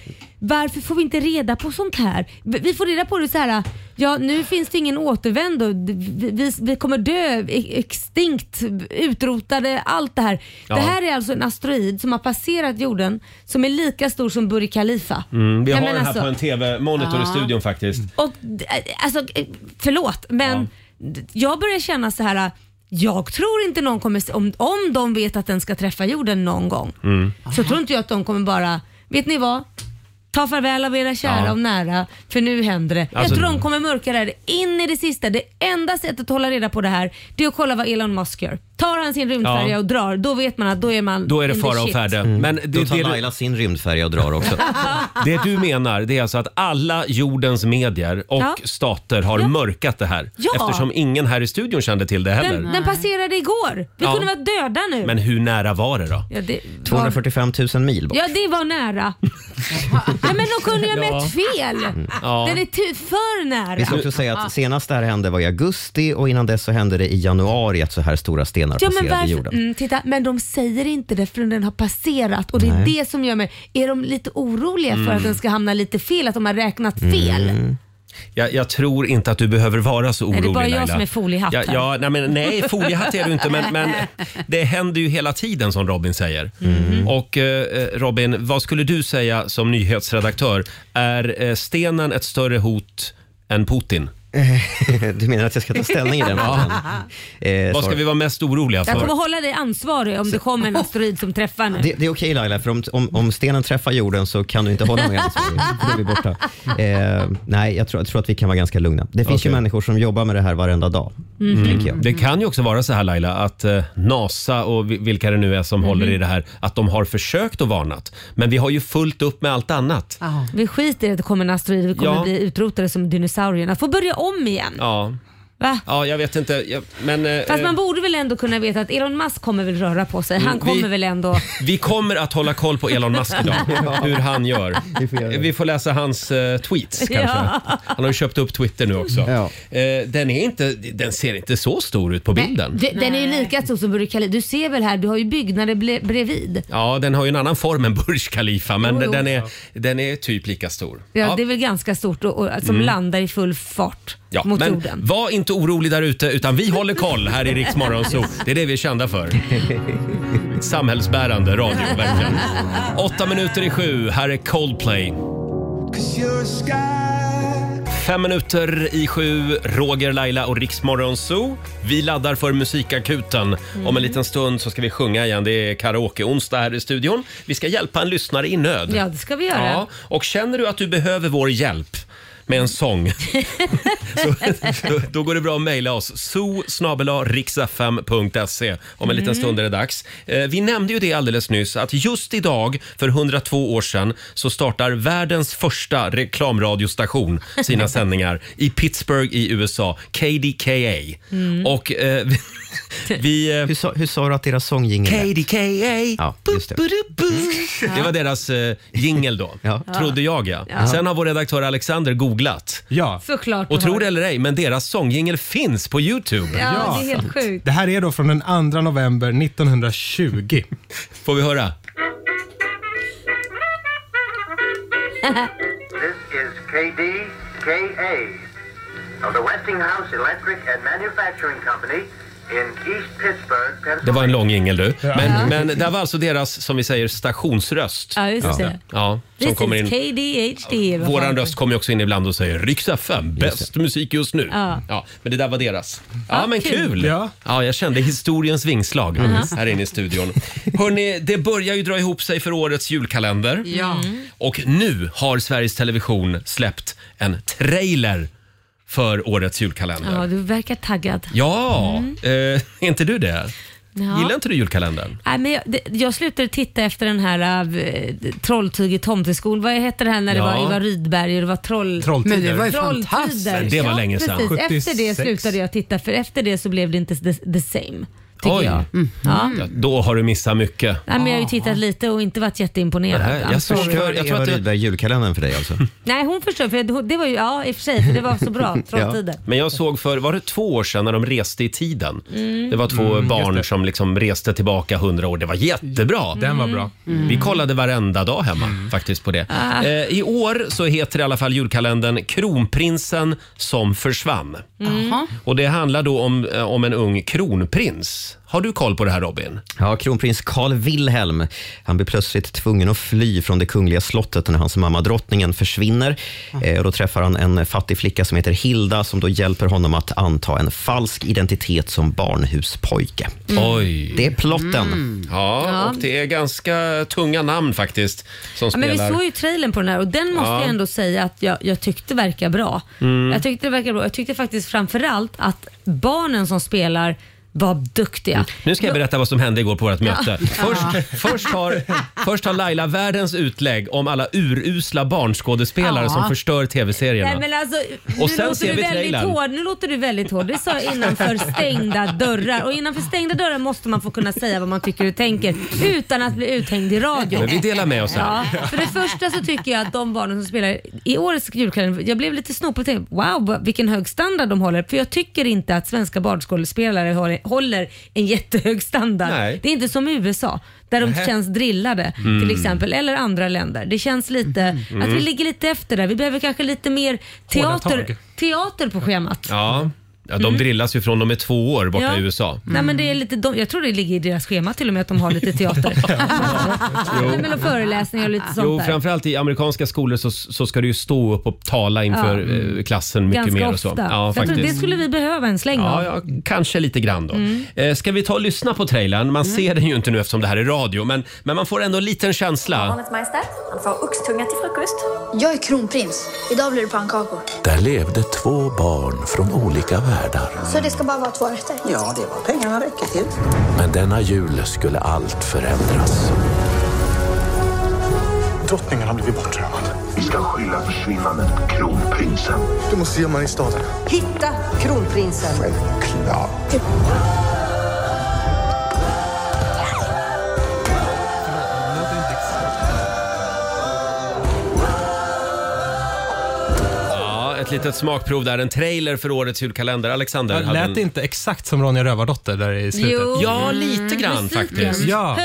[SPEAKER 2] Varför får vi inte reda på sånt här? V- Vi får reda på det så här. Ja, nu finns det ingen återvändo. D- Vi, vi- vi kommer dö, e- extinkt, utrotade, allt det här.
[SPEAKER 1] Ja.
[SPEAKER 2] Det här är alltså en asteroid som har passerat jorden som är lika stor som Burj Khalifa.
[SPEAKER 1] Mm, vi
[SPEAKER 2] Jag
[SPEAKER 1] har
[SPEAKER 2] menar
[SPEAKER 1] den här
[SPEAKER 2] alltså- Mm.
[SPEAKER 1] på en TV-monitor i studion faktiskt.
[SPEAKER 2] Och, d- alltså, eh, förlåt, men d- jag börjar känna så här. Jag tror inte någon kommer, se- om, om de vet att den ska träffa jorden någon gång,
[SPEAKER 1] Mm.
[SPEAKER 2] så tror inte jag att de kommer bara, vet ni vad? Ta farväl av era kära
[SPEAKER 1] Ja.
[SPEAKER 2] och nära, för nu händer det.
[SPEAKER 1] Alltså-
[SPEAKER 2] jag tror de kommer mörka det här in i det sista. Det enda sättet att hålla reda på det här, det är att kolla vad Elon Musk gör. Tar han sin rymdfärja
[SPEAKER 1] Ja.
[SPEAKER 2] och drar, då vet man att då är man
[SPEAKER 1] Då är det
[SPEAKER 2] in the
[SPEAKER 1] fara och
[SPEAKER 2] shit.
[SPEAKER 1] färde. Men det,
[SPEAKER 7] Mm. Då
[SPEAKER 1] det,
[SPEAKER 7] tar
[SPEAKER 1] du-
[SPEAKER 7] Laila sin rymdfärja och drar också.
[SPEAKER 1] det du menar det är alltså att alla jordens medier och
[SPEAKER 2] Ja.
[SPEAKER 1] stater har mörkat det här.
[SPEAKER 2] Ja.
[SPEAKER 1] Eftersom ingen här i studion kände till det heller.
[SPEAKER 2] Den, den passerade igår. Vi
[SPEAKER 1] Ja.
[SPEAKER 2] kunde vara döda nu.
[SPEAKER 1] Men hur nära var det då?
[SPEAKER 2] ja, det, var-
[SPEAKER 7] 245 000 mil bort.
[SPEAKER 2] Ja, det var nära. Nej, men då kunde jag mätt fel.
[SPEAKER 1] Ja.
[SPEAKER 2] Den är ty- för
[SPEAKER 7] Vi
[SPEAKER 2] nära.
[SPEAKER 7] ska också säga att senast det här hände var i augusti och innan dess så hände det i januari att så här stora stenar
[SPEAKER 2] Ja, men,
[SPEAKER 7] passerade
[SPEAKER 2] varför?
[SPEAKER 7] jorden.
[SPEAKER 2] Mm, titta, men de säger inte det förrän den har passerat och det är
[SPEAKER 1] Mm.
[SPEAKER 2] det som gör mig... Är de lite oroliga för att den ska hamna lite fel? Att de har räknat fel?
[SPEAKER 1] Jag, jag tror inte att du behöver vara så
[SPEAKER 2] Nej,
[SPEAKER 1] orolig
[SPEAKER 2] det är bara jag
[SPEAKER 1] Laila.
[SPEAKER 2] som är foliehatt
[SPEAKER 1] ja,
[SPEAKER 2] här.
[SPEAKER 1] ja, nej, men, nej, foliehatt är du inte, men, men det händer ju hela tiden som Robin säger.
[SPEAKER 2] Mhm.
[SPEAKER 1] Och eh, Robin, vad skulle du säga som nyhetsredaktör? Är eh, stenen ett större hot än Putin?
[SPEAKER 7] Du menar att jag ska ta ställning i den frågan? Eh,
[SPEAKER 1] Vad
[SPEAKER 7] svar-
[SPEAKER 1] ska vi vara mest oroliga
[SPEAKER 2] Jag kommer
[SPEAKER 1] för?
[SPEAKER 2] hålla dig ansvarig om det kommer en asteroid som träffar nu.
[SPEAKER 7] Det, det är okej Laila, för om, om, om stenen träffar jorden så kan du inte hålla mig ansvarig. Då är vi borta. Eh, nej, jag tror, jag tror att vi kan vara ganska lugna. Det finns
[SPEAKER 1] Okej. Mm.
[SPEAKER 7] ju människor som jobbar med det här varenda dag. Tänker jag.
[SPEAKER 1] Det kan ju också vara så här Laila, att eh, NASA och vi- vilka det nu är som
[SPEAKER 2] Mhm.
[SPEAKER 1] håller i det här, att de har försökt och varnat. Men vi har ju fullt upp med allt annat.
[SPEAKER 5] Ja.
[SPEAKER 2] Vi skiter i att det kommer en asteroid, vi kommer
[SPEAKER 1] Ja.
[SPEAKER 2] bli utrotade som dinosaurierna. Får börja om igen.
[SPEAKER 1] Ja,
[SPEAKER 2] Va?
[SPEAKER 1] ja jag vet inte. Jag, men, eh,
[SPEAKER 2] Fast
[SPEAKER 1] eh,
[SPEAKER 2] man borde väl ändå kunna veta att Elon Musk kommer väl röra på sig. Han
[SPEAKER 1] Mm,
[SPEAKER 2] kommer
[SPEAKER 1] vi-
[SPEAKER 2] väl ändå...
[SPEAKER 1] Vi kommer att hålla koll på Elon Musk idag, hur han gör.
[SPEAKER 7] Vi får göra det.
[SPEAKER 1] Vi får läsa hans eh, tweets kanske.
[SPEAKER 2] Ja.
[SPEAKER 1] Han har ju köpt upp Twitter nu också.
[SPEAKER 7] Ja.
[SPEAKER 1] Eh, den, är inte, den ser inte så stor ut på bilden.
[SPEAKER 2] Du, den är ju lika stor som Burj Khalifa. Du ser väl här, du har ju byggnader ble- bredvid.
[SPEAKER 1] Ja, den har ju en annan form än Burj Khalifa, men
[SPEAKER 2] Jo, jo.
[SPEAKER 1] Den, är, den är typ lika stor.
[SPEAKER 2] Ja,
[SPEAKER 1] Ja. Mm.
[SPEAKER 2] Det är väl ganska stort och, och, som landar i full fart
[SPEAKER 1] Ja,
[SPEAKER 2] mot
[SPEAKER 1] men
[SPEAKER 2] jorden.
[SPEAKER 1] var inte orolig där ute utan vi håller koll här i Rix Morgon Zoo. Det är det vi är kända för. Samhällsbärande radio verkligen. Åtta minuter i sju, här är Coldplay. Fem minuter i sju, Roger, Laila och Rix Morgon Zoo. Vi laddar för musikakuten. Om
[SPEAKER 2] Mm.
[SPEAKER 1] en liten stund så ska vi sjunga igen. Det är karaoke-onsdag här i studion. Vi ska hjälpa en lyssnare i nöd.
[SPEAKER 2] Ja, det ska vi göra.
[SPEAKER 1] Ja, och känner du att du behöver vår hjälp med en sång, så, då, då går det bra att mejla oss. zoo riksfm.se Om en
[SPEAKER 2] Mm.
[SPEAKER 1] liten stund är det dags. Eh, Vi nämnde ju det alldeles nyss att just idag för 102 år sedan så startar världens första reklamradiostation sina sändningar i Pittsburgh i USA, KDKA.
[SPEAKER 2] Mm.
[SPEAKER 1] Och eh, vi... vi eh,
[SPEAKER 7] Hur, sa, hur sa du att deras sång jingel lät?
[SPEAKER 1] KDKA.
[SPEAKER 7] Ja, just det.
[SPEAKER 1] Det var deras eh, jingel då,
[SPEAKER 7] Ja.
[SPEAKER 1] trodde jag ja. Sen har vår redaktör Alexander googlat.
[SPEAKER 8] Ja.
[SPEAKER 2] Såklart.
[SPEAKER 1] Och
[SPEAKER 2] du
[SPEAKER 1] tro
[SPEAKER 2] har.
[SPEAKER 1] det eller ej, men deras sångjingel finns på Youtube.
[SPEAKER 2] Ja,
[SPEAKER 8] Ja.
[SPEAKER 2] det är helt sjukt.
[SPEAKER 8] Det här är då från den 2 november 1920.
[SPEAKER 1] Får vi höra?
[SPEAKER 9] This is KDKA of the Westinghouse Electric and Manufacturing Company in East Pittsburgh, Pennsylvania.
[SPEAKER 1] Det var en lång jingel du. Men, men det var alltså deras, som vi säger, stationsröst.
[SPEAKER 2] Ja, just det.
[SPEAKER 1] Ja, som
[SPEAKER 2] This
[SPEAKER 1] kommer
[SPEAKER 2] is
[SPEAKER 1] in.
[SPEAKER 2] KDHD. vad fan.
[SPEAKER 1] Våran röst kommer ju också in ibland och säger Rix FM, bäst musik just nu.
[SPEAKER 2] Ja.
[SPEAKER 1] Ja, men det där var deras. Ja,
[SPEAKER 2] Ja,
[SPEAKER 1] men
[SPEAKER 2] kul.
[SPEAKER 1] kul! Ja.
[SPEAKER 8] Ja.
[SPEAKER 1] jag kände historiens vingslag här inne i studion. Hörrni, det börjar ju dra ihop sig för årets julkalender. Mm.
[SPEAKER 5] Ja.
[SPEAKER 1] Och nu har Sveriges Television släppt en trailer för årets julkalender.
[SPEAKER 2] Ja,
[SPEAKER 1] Ja,
[SPEAKER 2] du verkar taggad.
[SPEAKER 1] eh, är inte du det?
[SPEAKER 2] Ja.
[SPEAKER 1] Gillar inte du julkalendern?
[SPEAKER 2] Nej, men jag, det- jag slutade titta efter den här äh, Trolltyg i tomteskon. Vad hette det här när det
[SPEAKER 1] Ja.
[SPEAKER 2] var Ivar Rydberg och det var troll...
[SPEAKER 8] Trolltider.
[SPEAKER 5] Men det var ju
[SPEAKER 2] Trolltider.
[SPEAKER 5] fantastiskt.
[SPEAKER 1] Det var länge sedan.
[SPEAKER 2] Precis. Efter det
[SPEAKER 8] 76.
[SPEAKER 2] slutade jag titta för efter det så blev det inte the, the same. Tycker
[SPEAKER 1] Oj. Mm.
[SPEAKER 2] jag. Ja.
[SPEAKER 1] Ja, då har du missat mycket.
[SPEAKER 2] Nej, men jag har ju tittat lite och inte varit jätteimponerad.
[SPEAKER 1] Nej,
[SPEAKER 2] I'm
[SPEAKER 1] jag
[SPEAKER 2] sorry.
[SPEAKER 1] förstör, jag tror
[SPEAKER 7] Eva
[SPEAKER 1] att det,
[SPEAKER 7] Rydberg, julkalendern för dig alltså?
[SPEAKER 2] Nej hon förstår för det- det var ju, ja i och för sig, för det var så bra. Trolltider.
[SPEAKER 1] men jag såg för, var det två år sedan när de reste i tiden? Det var
[SPEAKER 8] Mm,
[SPEAKER 1] två barn som liksom reste tillbaka hundra år. Det var jättebra. Mm.
[SPEAKER 8] Den var bra. Mm.
[SPEAKER 1] Vi kollade varenda dag hemma faktiskt på det.
[SPEAKER 2] Ah.
[SPEAKER 1] Eh, I år så heter i alla fall julkalendern Kronprinsen som försvann.
[SPEAKER 5] Jaha.
[SPEAKER 1] Och det handlar då om, eh, om en ung kronprins. Har du koll på det här Robin?
[SPEAKER 7] Ja, kronprins Carl Wilhelm. Han blir plötsligt tvungen att fly från det kungliga slottet när hans mamma drottningen försvinner. Eh, och då träffar han en fattig flicka som heter Hilda som då hjälper honom att anta en falsk identitet som barnhuspojke.
[SPEAKER 1] Mm. Oj.
[SPEAKER 7] Det är plotten.
[SPEAKER 1] Ja, och det är ganska tunga namn faktiskt som
[SPEAKER 2] Ja, men vi
[SPEAKER 1] spelar.
[SPEAKER 2] såg ju trailern på den här och den måste jag ändå säga att jag, jag tyckte verkar bra.
[SPEAKER 1] Mm.
[SPEAKER 2] Jag tyckte det verkar bra. Jag tyckte faktiskt framförallt att barnen som spelar var duktiga.
[SPEAKER 1] Mm. Nu ska jag berätta vad som hände igår på vårt möte. Först, först, har, först har Laila världens utlägg om alla urusla barnskådespelare
[SPEAKER 5] Ja.
[SPEAKER 1] som förstör
[SPEAKER 2] Nej,
[SPEAKER 1] tv-serierna.
[SPEAKER 2] men alltså, nu,
[SPEAKER 1] Och sen
[SPEAKER 2] låter
[SPEAKER 1] ser
[SPEAKER 2] du
[SPEAKER 1] vi
[SPEAKER 2] väldigt
[SPEAKER 1] trailern.
[SPEAKER 2] hård, nu låter du väldigt hård. Det sa jag innanför stängda dörrar. Och innanför stängda dörrar måste man få kunna säga vad man tycker och tänker utan att bli uthängd i radio.
[SPEAKER 1] Men vi delar med oss här.
[SPEAKER 2] Ja, för det första så tycker jag att de barnen som spelar i årets julkalender, jag blev lite snopet och tänkte wow vad- vilken hög standard de håller. För jag tycker inte att svenska barnskådespelare håller håller en jättehög standard.
[SPEAKER 1] Nej.
[SPEAKER 2] Det är inte som i USA där de
[SPEAKER 1] Nähä. Mm.
[SPEAKER 2] känns drillade till exempel, eller andra länder. Det känns lite
[SPEAKER 1] Mhm.
[SPEAKER 2] att vi ligger lite efter där. Vi behöver kanske lite mer
[SPEAKER 8] Hårda
[SPEAKER 2] teater,
[SPEAKER 8] tag.
[SPEAKER 2] teater på schemat.
[SPEAKER 1] Ja. ja de drillas ju från de är två år borta
[SPEAKER 2] Mm. Ja.
[SPEAKER 1] i USA. Mm.
[SPEAKER 2] Nej, men det är lite, de, jag tror det ligger i deras schema till och med att de har lite teater. Nej, men och föreläsningar och lite sånt
[SPEAKER 1] Jo,
[SPEAKER 2] där.
[SPEAKER 1] framförallt i amerikanska skolor så, så ska du ju stå upp och tala inför eh, klassen mycket
[SPEAKER 2] Ganska
[SPEAKER 1] mer och
[SPEAKER 2] ofta.
[SPEAKER 1] så. Ja,
[SPEAKER 2] jag tror det
[SPEAKER 1] faktiskt.
[SPEAKER 2] skulle Mm. vi behöva en släng
[SPEAKER 1] Ja,
[SPEAKER 2] av.
[SPEAKER 1] ja, kanske lite grann då. Eh, ska vi ta och lyssna på trailern?
[SPEAKER 2] Mm.
[SPEAKER 1] Man ser den ju inte nu eftersom det här är radio, men, men man får ändå en liten känsla.
[SPEAKER 10] Majestät, han får oxtunga till frukost.
[SPEAKER 9] Jag är kronprins. Idag blir det pannkakor.
[SPEAKER 3] Där levde två barn från olika världar.
[SPEAKER 9] Så det ska bara vara två rätter? Ja, det var pengarna räcker till.
[SPEAKER 3] Men denna jul skulle allt förändras.
[SPEAKER 9] Drottningen har blivit bortrövad.
[SPEAKER 3] Vi ska skylla försvinnandet på kronprinsen.
[SPEAKER 9] Du måste se man i staden.
[SPEAKER 10] Hitta kronprinsen.
[SPEAKER 3] Självklart.
[SPEAKER 1] Ja, ett litet smakprov där. En trailer för årets julkalender. Alexander
[SPEAKER 8] Det
[SPEAKER 1] hade en...
[SPEAKER 8] lät inte exakt som Ronja Rövardotter där i slutet.
[SPEAKER 2] Jo.
[SPEAKER 1] Ja, lite grann
[SPEAKER 2] Mm,
[SPEAKER 1] faktiskt.
[SPEAKER 8] Ja,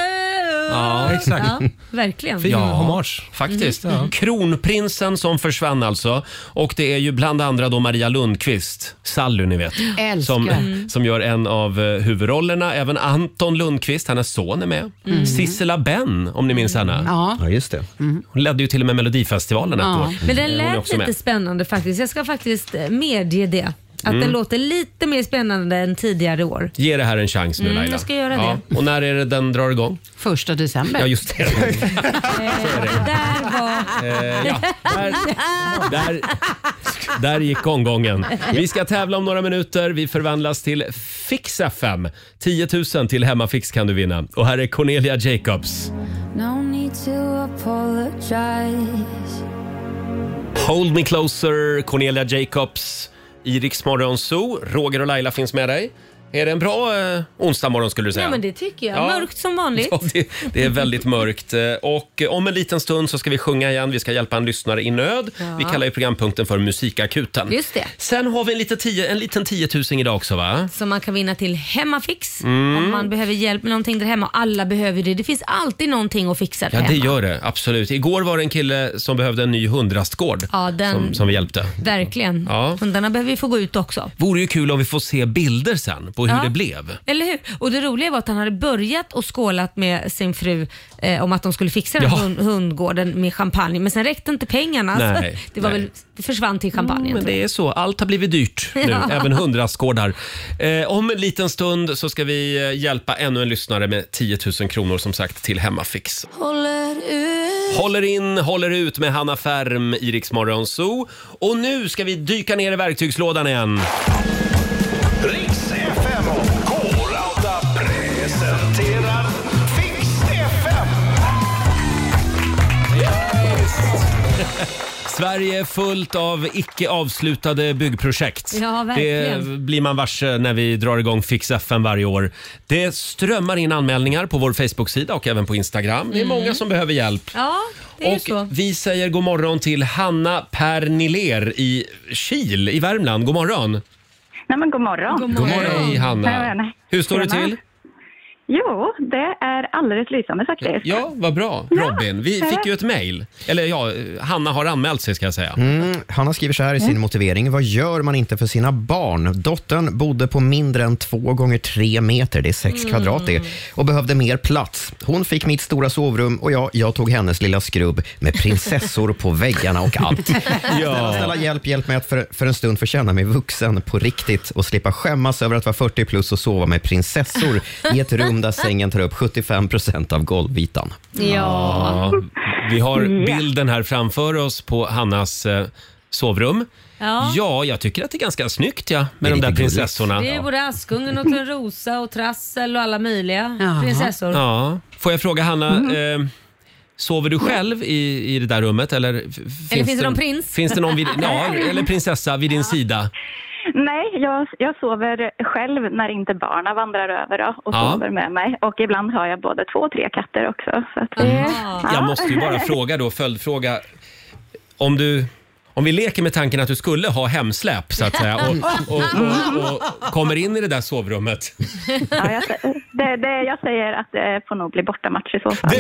[SPEAKER 1] Ja,
[SPEAKER 8] exakt.
[SPEAKER 2] Ja, verkligen.
[SPEAKER 8] Fin
[SPEAKER 1] Ja.
[SPEAKER 8] hommage.
[SPEAKER 1] Faktiskt.
[SPEAKER 8] Mm,
[SPEAKER 1] Kronprinsen som försvann alltså. Och det är ju bland andra då Maria Lundqvist, Sally ni vet.
[SPEAKER 5] Älskar.
[SPEAKER 1] Som,
[SPEAKER 2] Mm.
[SPEAKER 1] som gör en av eh, huvudrollerna. Även Anton Lundqvist, hennes son är med.
[SPEAKER 2] Mm.
[SPEAKER 1] Sissela Benn, om ni minns henne.
[SPEAKER 5] Ja.
[SPEAKER 7] Ja, just det.
[SPEAKER 1] Hon ledde ju till och med Melodifestivalen ett
[SPEAKER 5] Ja.
[SPEAKER 1] år.
[SPEAKER 2] Men den
[SPEAKER 1] Hon är
[SPEAKER 2] lät
[SPEAKER 1] också
[SPEAKER 2] lite
[SPEAKER 1] med.
[SPEAKER 2] spännande faktiskt. Jag ska faktiskt eh, medge det. Att
[SPEAKER 1] Mm.
[SPEAKER 2] den låter lite mer spännande än tidigare år.
[SPEAKER 1] Ge det här en chans nu
[SPEAKER 2] Mm,
[SPEAKER 1] Laila.
[SPEAKER 2] jag ska göra
[SPEAKER 1] Och när är det den drar igång?
[SPEAKER 5] Första december.
[SPEAKER 1] Ja, just det.
[SPEAKER 2] Eh, där var...
[SPEAKER 1] Eh, ja, där, där, där gick omgången. Vi ska tävla om några minuter. Vi förvandlas till Fix FM. 10 000 till Hemmafix kan du vinna. Och här är Cornelia Jacobs. Hold me closer, Cornelia Jacobs. I Rix Morgon Zoo. Roger och Laila finns med dig. Är det en bra eh, onsdag morgon skulle du säga?
[SPEAKER 2] Ja men det tycker jag.
[SPEAKER 1] Ja.
[SPEAKER 2] Mörkt som vanligt.
[SPEAKER 1] Ja, det, det är väldigt mörkt. Eh, Och eh, om en liten stund så ska vi sjunga igen. Vi ska hjälpa en lyssnare i nöd. Vi kallar ju programpunkten för Musikakuten.
[SPEAKER 2] Just det.
[SPEAKER 1] Sen har vi en, lite tio, en liten 10 000 idag också va?
[SPEAKER 2] Som man kan vinna till Hemmafix
[SPEAKER 1] Mm.
[SPEAKER 2] om man behöver hjälp med någonting där hemma. Alla behöver det. Det finns alltid någonting att fixa där
[SPEAKER 1] Ja, det
[SPEAKER 2] hemma.
[SPEAKER 1] gör det. Absolut. Igår var det en kille som behövde en ny hundrastgård
[SPEAKER 2] Ja, den-
[SPEAKER 1] som, som vi hjälpte.
[SPEAKER 2] Verkligen.
[SPEAKER 1] Ja.
[SPEAKER 2] Hundarna behöver vi få gå ut också.
[SPEAKER 1] Vore ju kul om vi får se bilder sen på hur
[SPEAKER 2] Ja.
[SPEAKER 1] det blev.
[SPEAKER 2] Eller hur? Och det roliga var att han hade börjat och skålat med sin fru eh, om att de skulle fixa den
[SPEAKER 1] Ja.
[SPEAKER 2] hund, hundgården med champagne. Men sen räckte inte pengarna.
[SPEAKER 1] Nej,
[SPEAKER 2] så det, var
[SPEAKER 1] nej. Mm.
[SPEAKER 2] väl, det försvann till
[SPEAKER 1] Men
[SPEAKER 2] champagnen. tror jag.
[SPEAKER 1] det är så. Allt har blivit dyrt nu,
[SPEAKER 2] Ja.
[SPEAKER 1] även hundrastgårdar. Eh, om en liten stund så ska vi eh, hjälpa ännu en lyssnare med 10 000 kronor som sagt till Hemmafix. Håller in, håller ut med Hanna Färm i Rix Morgon Zoo. Och nu ska vi dyka ner i verktygslådan igen.
[SPEAKER 3] Riks FM och K-Rauta presenterar Fix FM.
[SPEAKER 1] Sverige är fullt av icke avslutade byggprojekt.
[SPEAKER 2] Ja, verkligen.
[SPEAKER 1] Det blir man varse när vi drar igång Fix FM varje år. Det strömmar in anmälningar på vår Facebook-sida och även på Instagram. Det är många som behöver hjälp.
[SPEAKER 2] Ja, Mm. det är ju
[SPEAKER 1] och
[SPEAKER 2] så.
[SPEAKER 1] vi säger god morgon till Hanna Perniler i Kil i Värmland. God morgon!
[SPEAKER 4] Nej, men god morgon.
[SPEAKER 2] God
[SPEAKER 1] God morgon Hej,
[SPEAKER 4] Hej,
[SPEAKER 1] Hanna!
[SPEAKER 4] Hanna.
[SPEAKER 1] Hur står det
[SPEAKER 4] Tjena.
[SPEAKER 1] till?
[SPEAKER 4] Jo, det är alldeles lysande faktiskt.
[SPEAKER 1] Ja, vad bra Robin. Vi fick ju ett mejl. Eller ja, Hanna har anmält sig ska jag säga.
[SPEAKER 7] Mm, Hanna skriver så här i sin motivering. Vad gör man inte för sina barn? Dottern bodde på mindre än två gånger tre meter, det är sex kvadrat det, och behövde mer plats. Hon fick mitt stora sovrum och jag, jag tog hennes lilla skrubb med prinsessor på väggarna och allt. Snälla, snälla hjälp, hjälp mig att för, för en stund få känna mig vuxen på riktigt och slippa skämmas över att vara 40 plus och sova med prinsessor i ett rum där sängen tar upp 75 procent av golvytan.
[SPEAKER 2] Ja.
[SPEAKER 1] Ja, vi har bilden här framför oss på Hannas eh, sovrum.
[SPEAKER 2] Ja.
[SPEAKER 1] ja, jag tycker att det är ganska snyggt ja,
[SPEAKER 7] är
[SPEAKER 1] med de
[SPEAKER 7] lite
[SPEAKER 1] där
[SPEAKER 7] gulligt.
[SPEAKER 1] prinsessorna.
[SPEAKER 2] Det är både Askungen och Törnrosa och Trassel och alla möjliga
[SPEAKER 5] Jaha.
[SPEAKER 2] prinsessor.
[SPEAKER 1] Ja. Får jag fråga Hanna,
[SPEAKER 2] Mm.
[SPEAKER 1] eh, sover du själv i, i det där rummet? Eller, f-
[SPEAKER 2] finns det någon prins?
[SPEAKER 1] Finns det någon vid, ja, eller prinsessa vid din sida?
[SPEAKER 4] Nej, jag, jag sover själv när inte barna vandrar över då, och
[SPEAKER 1] Ja.
[SPEAKER 4] sover med mig. Och ibland har jag både två och tre katter
[SPEAKER 1] Mm.
[SPEAKER 4] också. Så att det,
[SPEAKER 2] Ja.
[SPEAKER 1] Jag måste ju bara fråga då, följdfråga. Om du, om vi leker med tanken att du skulle ha hemsläp så att säga och, och, och, och kommer in i det där sovrummet.
[SPEAKER 4] Ja, jag, sä- det, det, jag säger att det får nog bli bortamatch i så fall.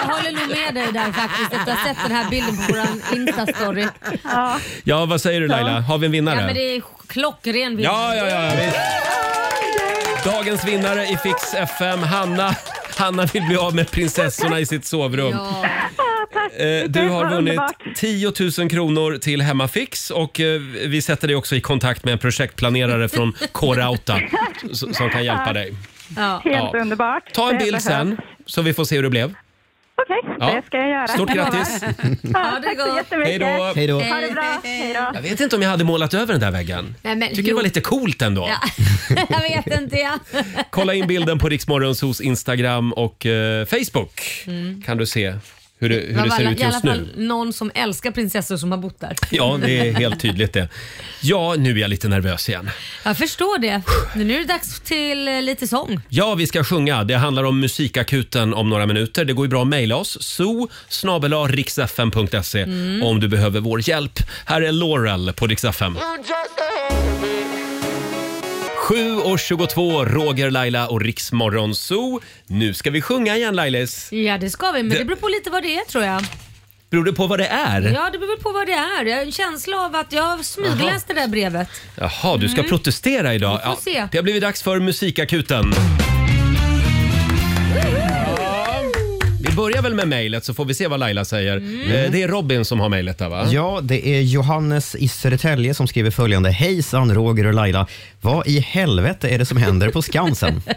[SPEAKER 2] Jag håller nog med dig där faktiskt efter att ha sett den här bilden på vår Insta-story.
[SPEAKER 4] Ja.
[SPEAKER 1] Ja, vad säger du Laila? Har vi en vinnare?
[SPEAKER 2] men det är klockren bild.
[SPEAKER 1] Ja, ja, ja, visst. Dagens vinnare i Fix FM, Hanna. Hanna vill bli av med prinsessorna i sitt sovrum.
[SPEAKER 2] Ja.
[SPEAKER 1] Eh, Du har
[SPEAKER 4] Vad
[SPEAKER 1] vunnit
[SPEAKER 4] underbart.
[SPEAKER 1] 10 000 kronor till Hemmafix och eh, vi sätter dig också i kontakt med en projektplanerare från K-Rauta s- som kan hjälpa dig.
[SPEAKER 2] Ja.
[SPEAKER 4] Helt
[SPEAKER 1] Ja.
[SPEAKER 4] underbart.
[SPEAKER 1] Ta en
[SPEAKER 4] Det
[SPEAKER 1] bild
[SPEAKER 4] behövs.
[SPEAKER 1] sen så vi får se hur det blev.
[SPEAKER 4] Okej,
[SPEAKER 1] Ja.
[SPEAKER 4] det ska jag göra.
[SPEAKER 1] Stort grattis!
[SPEAKER 4] Ja,
[SPEAKER 2] det
[SPEAKER 4] tack
[SPEAKER 2] går.
[SPEAKER 4] så
[SPEAKER 1] Hej
[SPEAKER 4] jättemycket.
[SPEAKER 1] då!
[SPEAKER 7] Hej då.
[SPEAKER 4] Ha det bra. Hej då.
[SPEAKER 1] Jag vet inte om jag hade målat över den där väggen.
[SPEAKER 2] Nej, men
[SPEAKER 1] Tycker det var
[SPEAKER 2] jo.
[SPEAKER 1] lite coolt ändå.
[SPEAKER 2] Ja. Jag vet inte. Ja.
[SPEAKER 1] Kolla in bilden på Riksmorgons hos Instagram och eh, Facebook. Kan du se hur det, hur
[SPEAKER 2] var
[SPEAKER 1] det ser
[SPEAKER 2] alla-
[SPEAKER 1] ut
[SPEAKER 2] Mm. I alla
[SPEAKER 1] just
[SPEAKER 2] fall
[SPEAKER 1] nu.
[SPEAKER 2] någon som älskar prinsessor som har bott där.
[SPEAKER 1] Ja, det är helt tydligt det. Ja, nu är jag lite nervös igen.
[SPEAKER 2] Jag förstår det. Men nu är det dags till eh, lite sång.
[SPEAKER 1] Ja, vi ska sjunga. Det handlar om musikakuten om några minuter. Det går ju bra att mejla oss. so om du behöver vår hjälp. Här är Laurel på Rix FM. 7 och 22, Roger, Laila och Rix Morgon Zoo. Nu ska vi sjunga igen Lailis.
[SPEAKER 2] Ja, det ska vi, men
[SPEAKER 1] Det-
[SPEAKER 2] det beror på lite vad det är tror jag.
[SPEAKER 1] Beror det på vad det är?
[SPEAKER 2] Ja, det beror väl på vad det är. Jag har en känsla av att jag smygläste det där brevet.
[SPEAKER 1] Jaha, du ska protestera idag.
[SPEAKER 2] Mm. Vi får se.
[SPEAKER 1] det har blivit dags för musikakuten. Ja, Vi börjar väl med mejlet så får vi se vad Laila säger.
[SPEAKER 2] Mm.
[SPEAKER 1] Eh, Det är Robin som har mejlet där va?
[SPEAKER 7] Ja, det är Johannes i Södertälje som skriver följande. Hejsan Roger och Laila. Vad i helvete är det som händer på Skansen?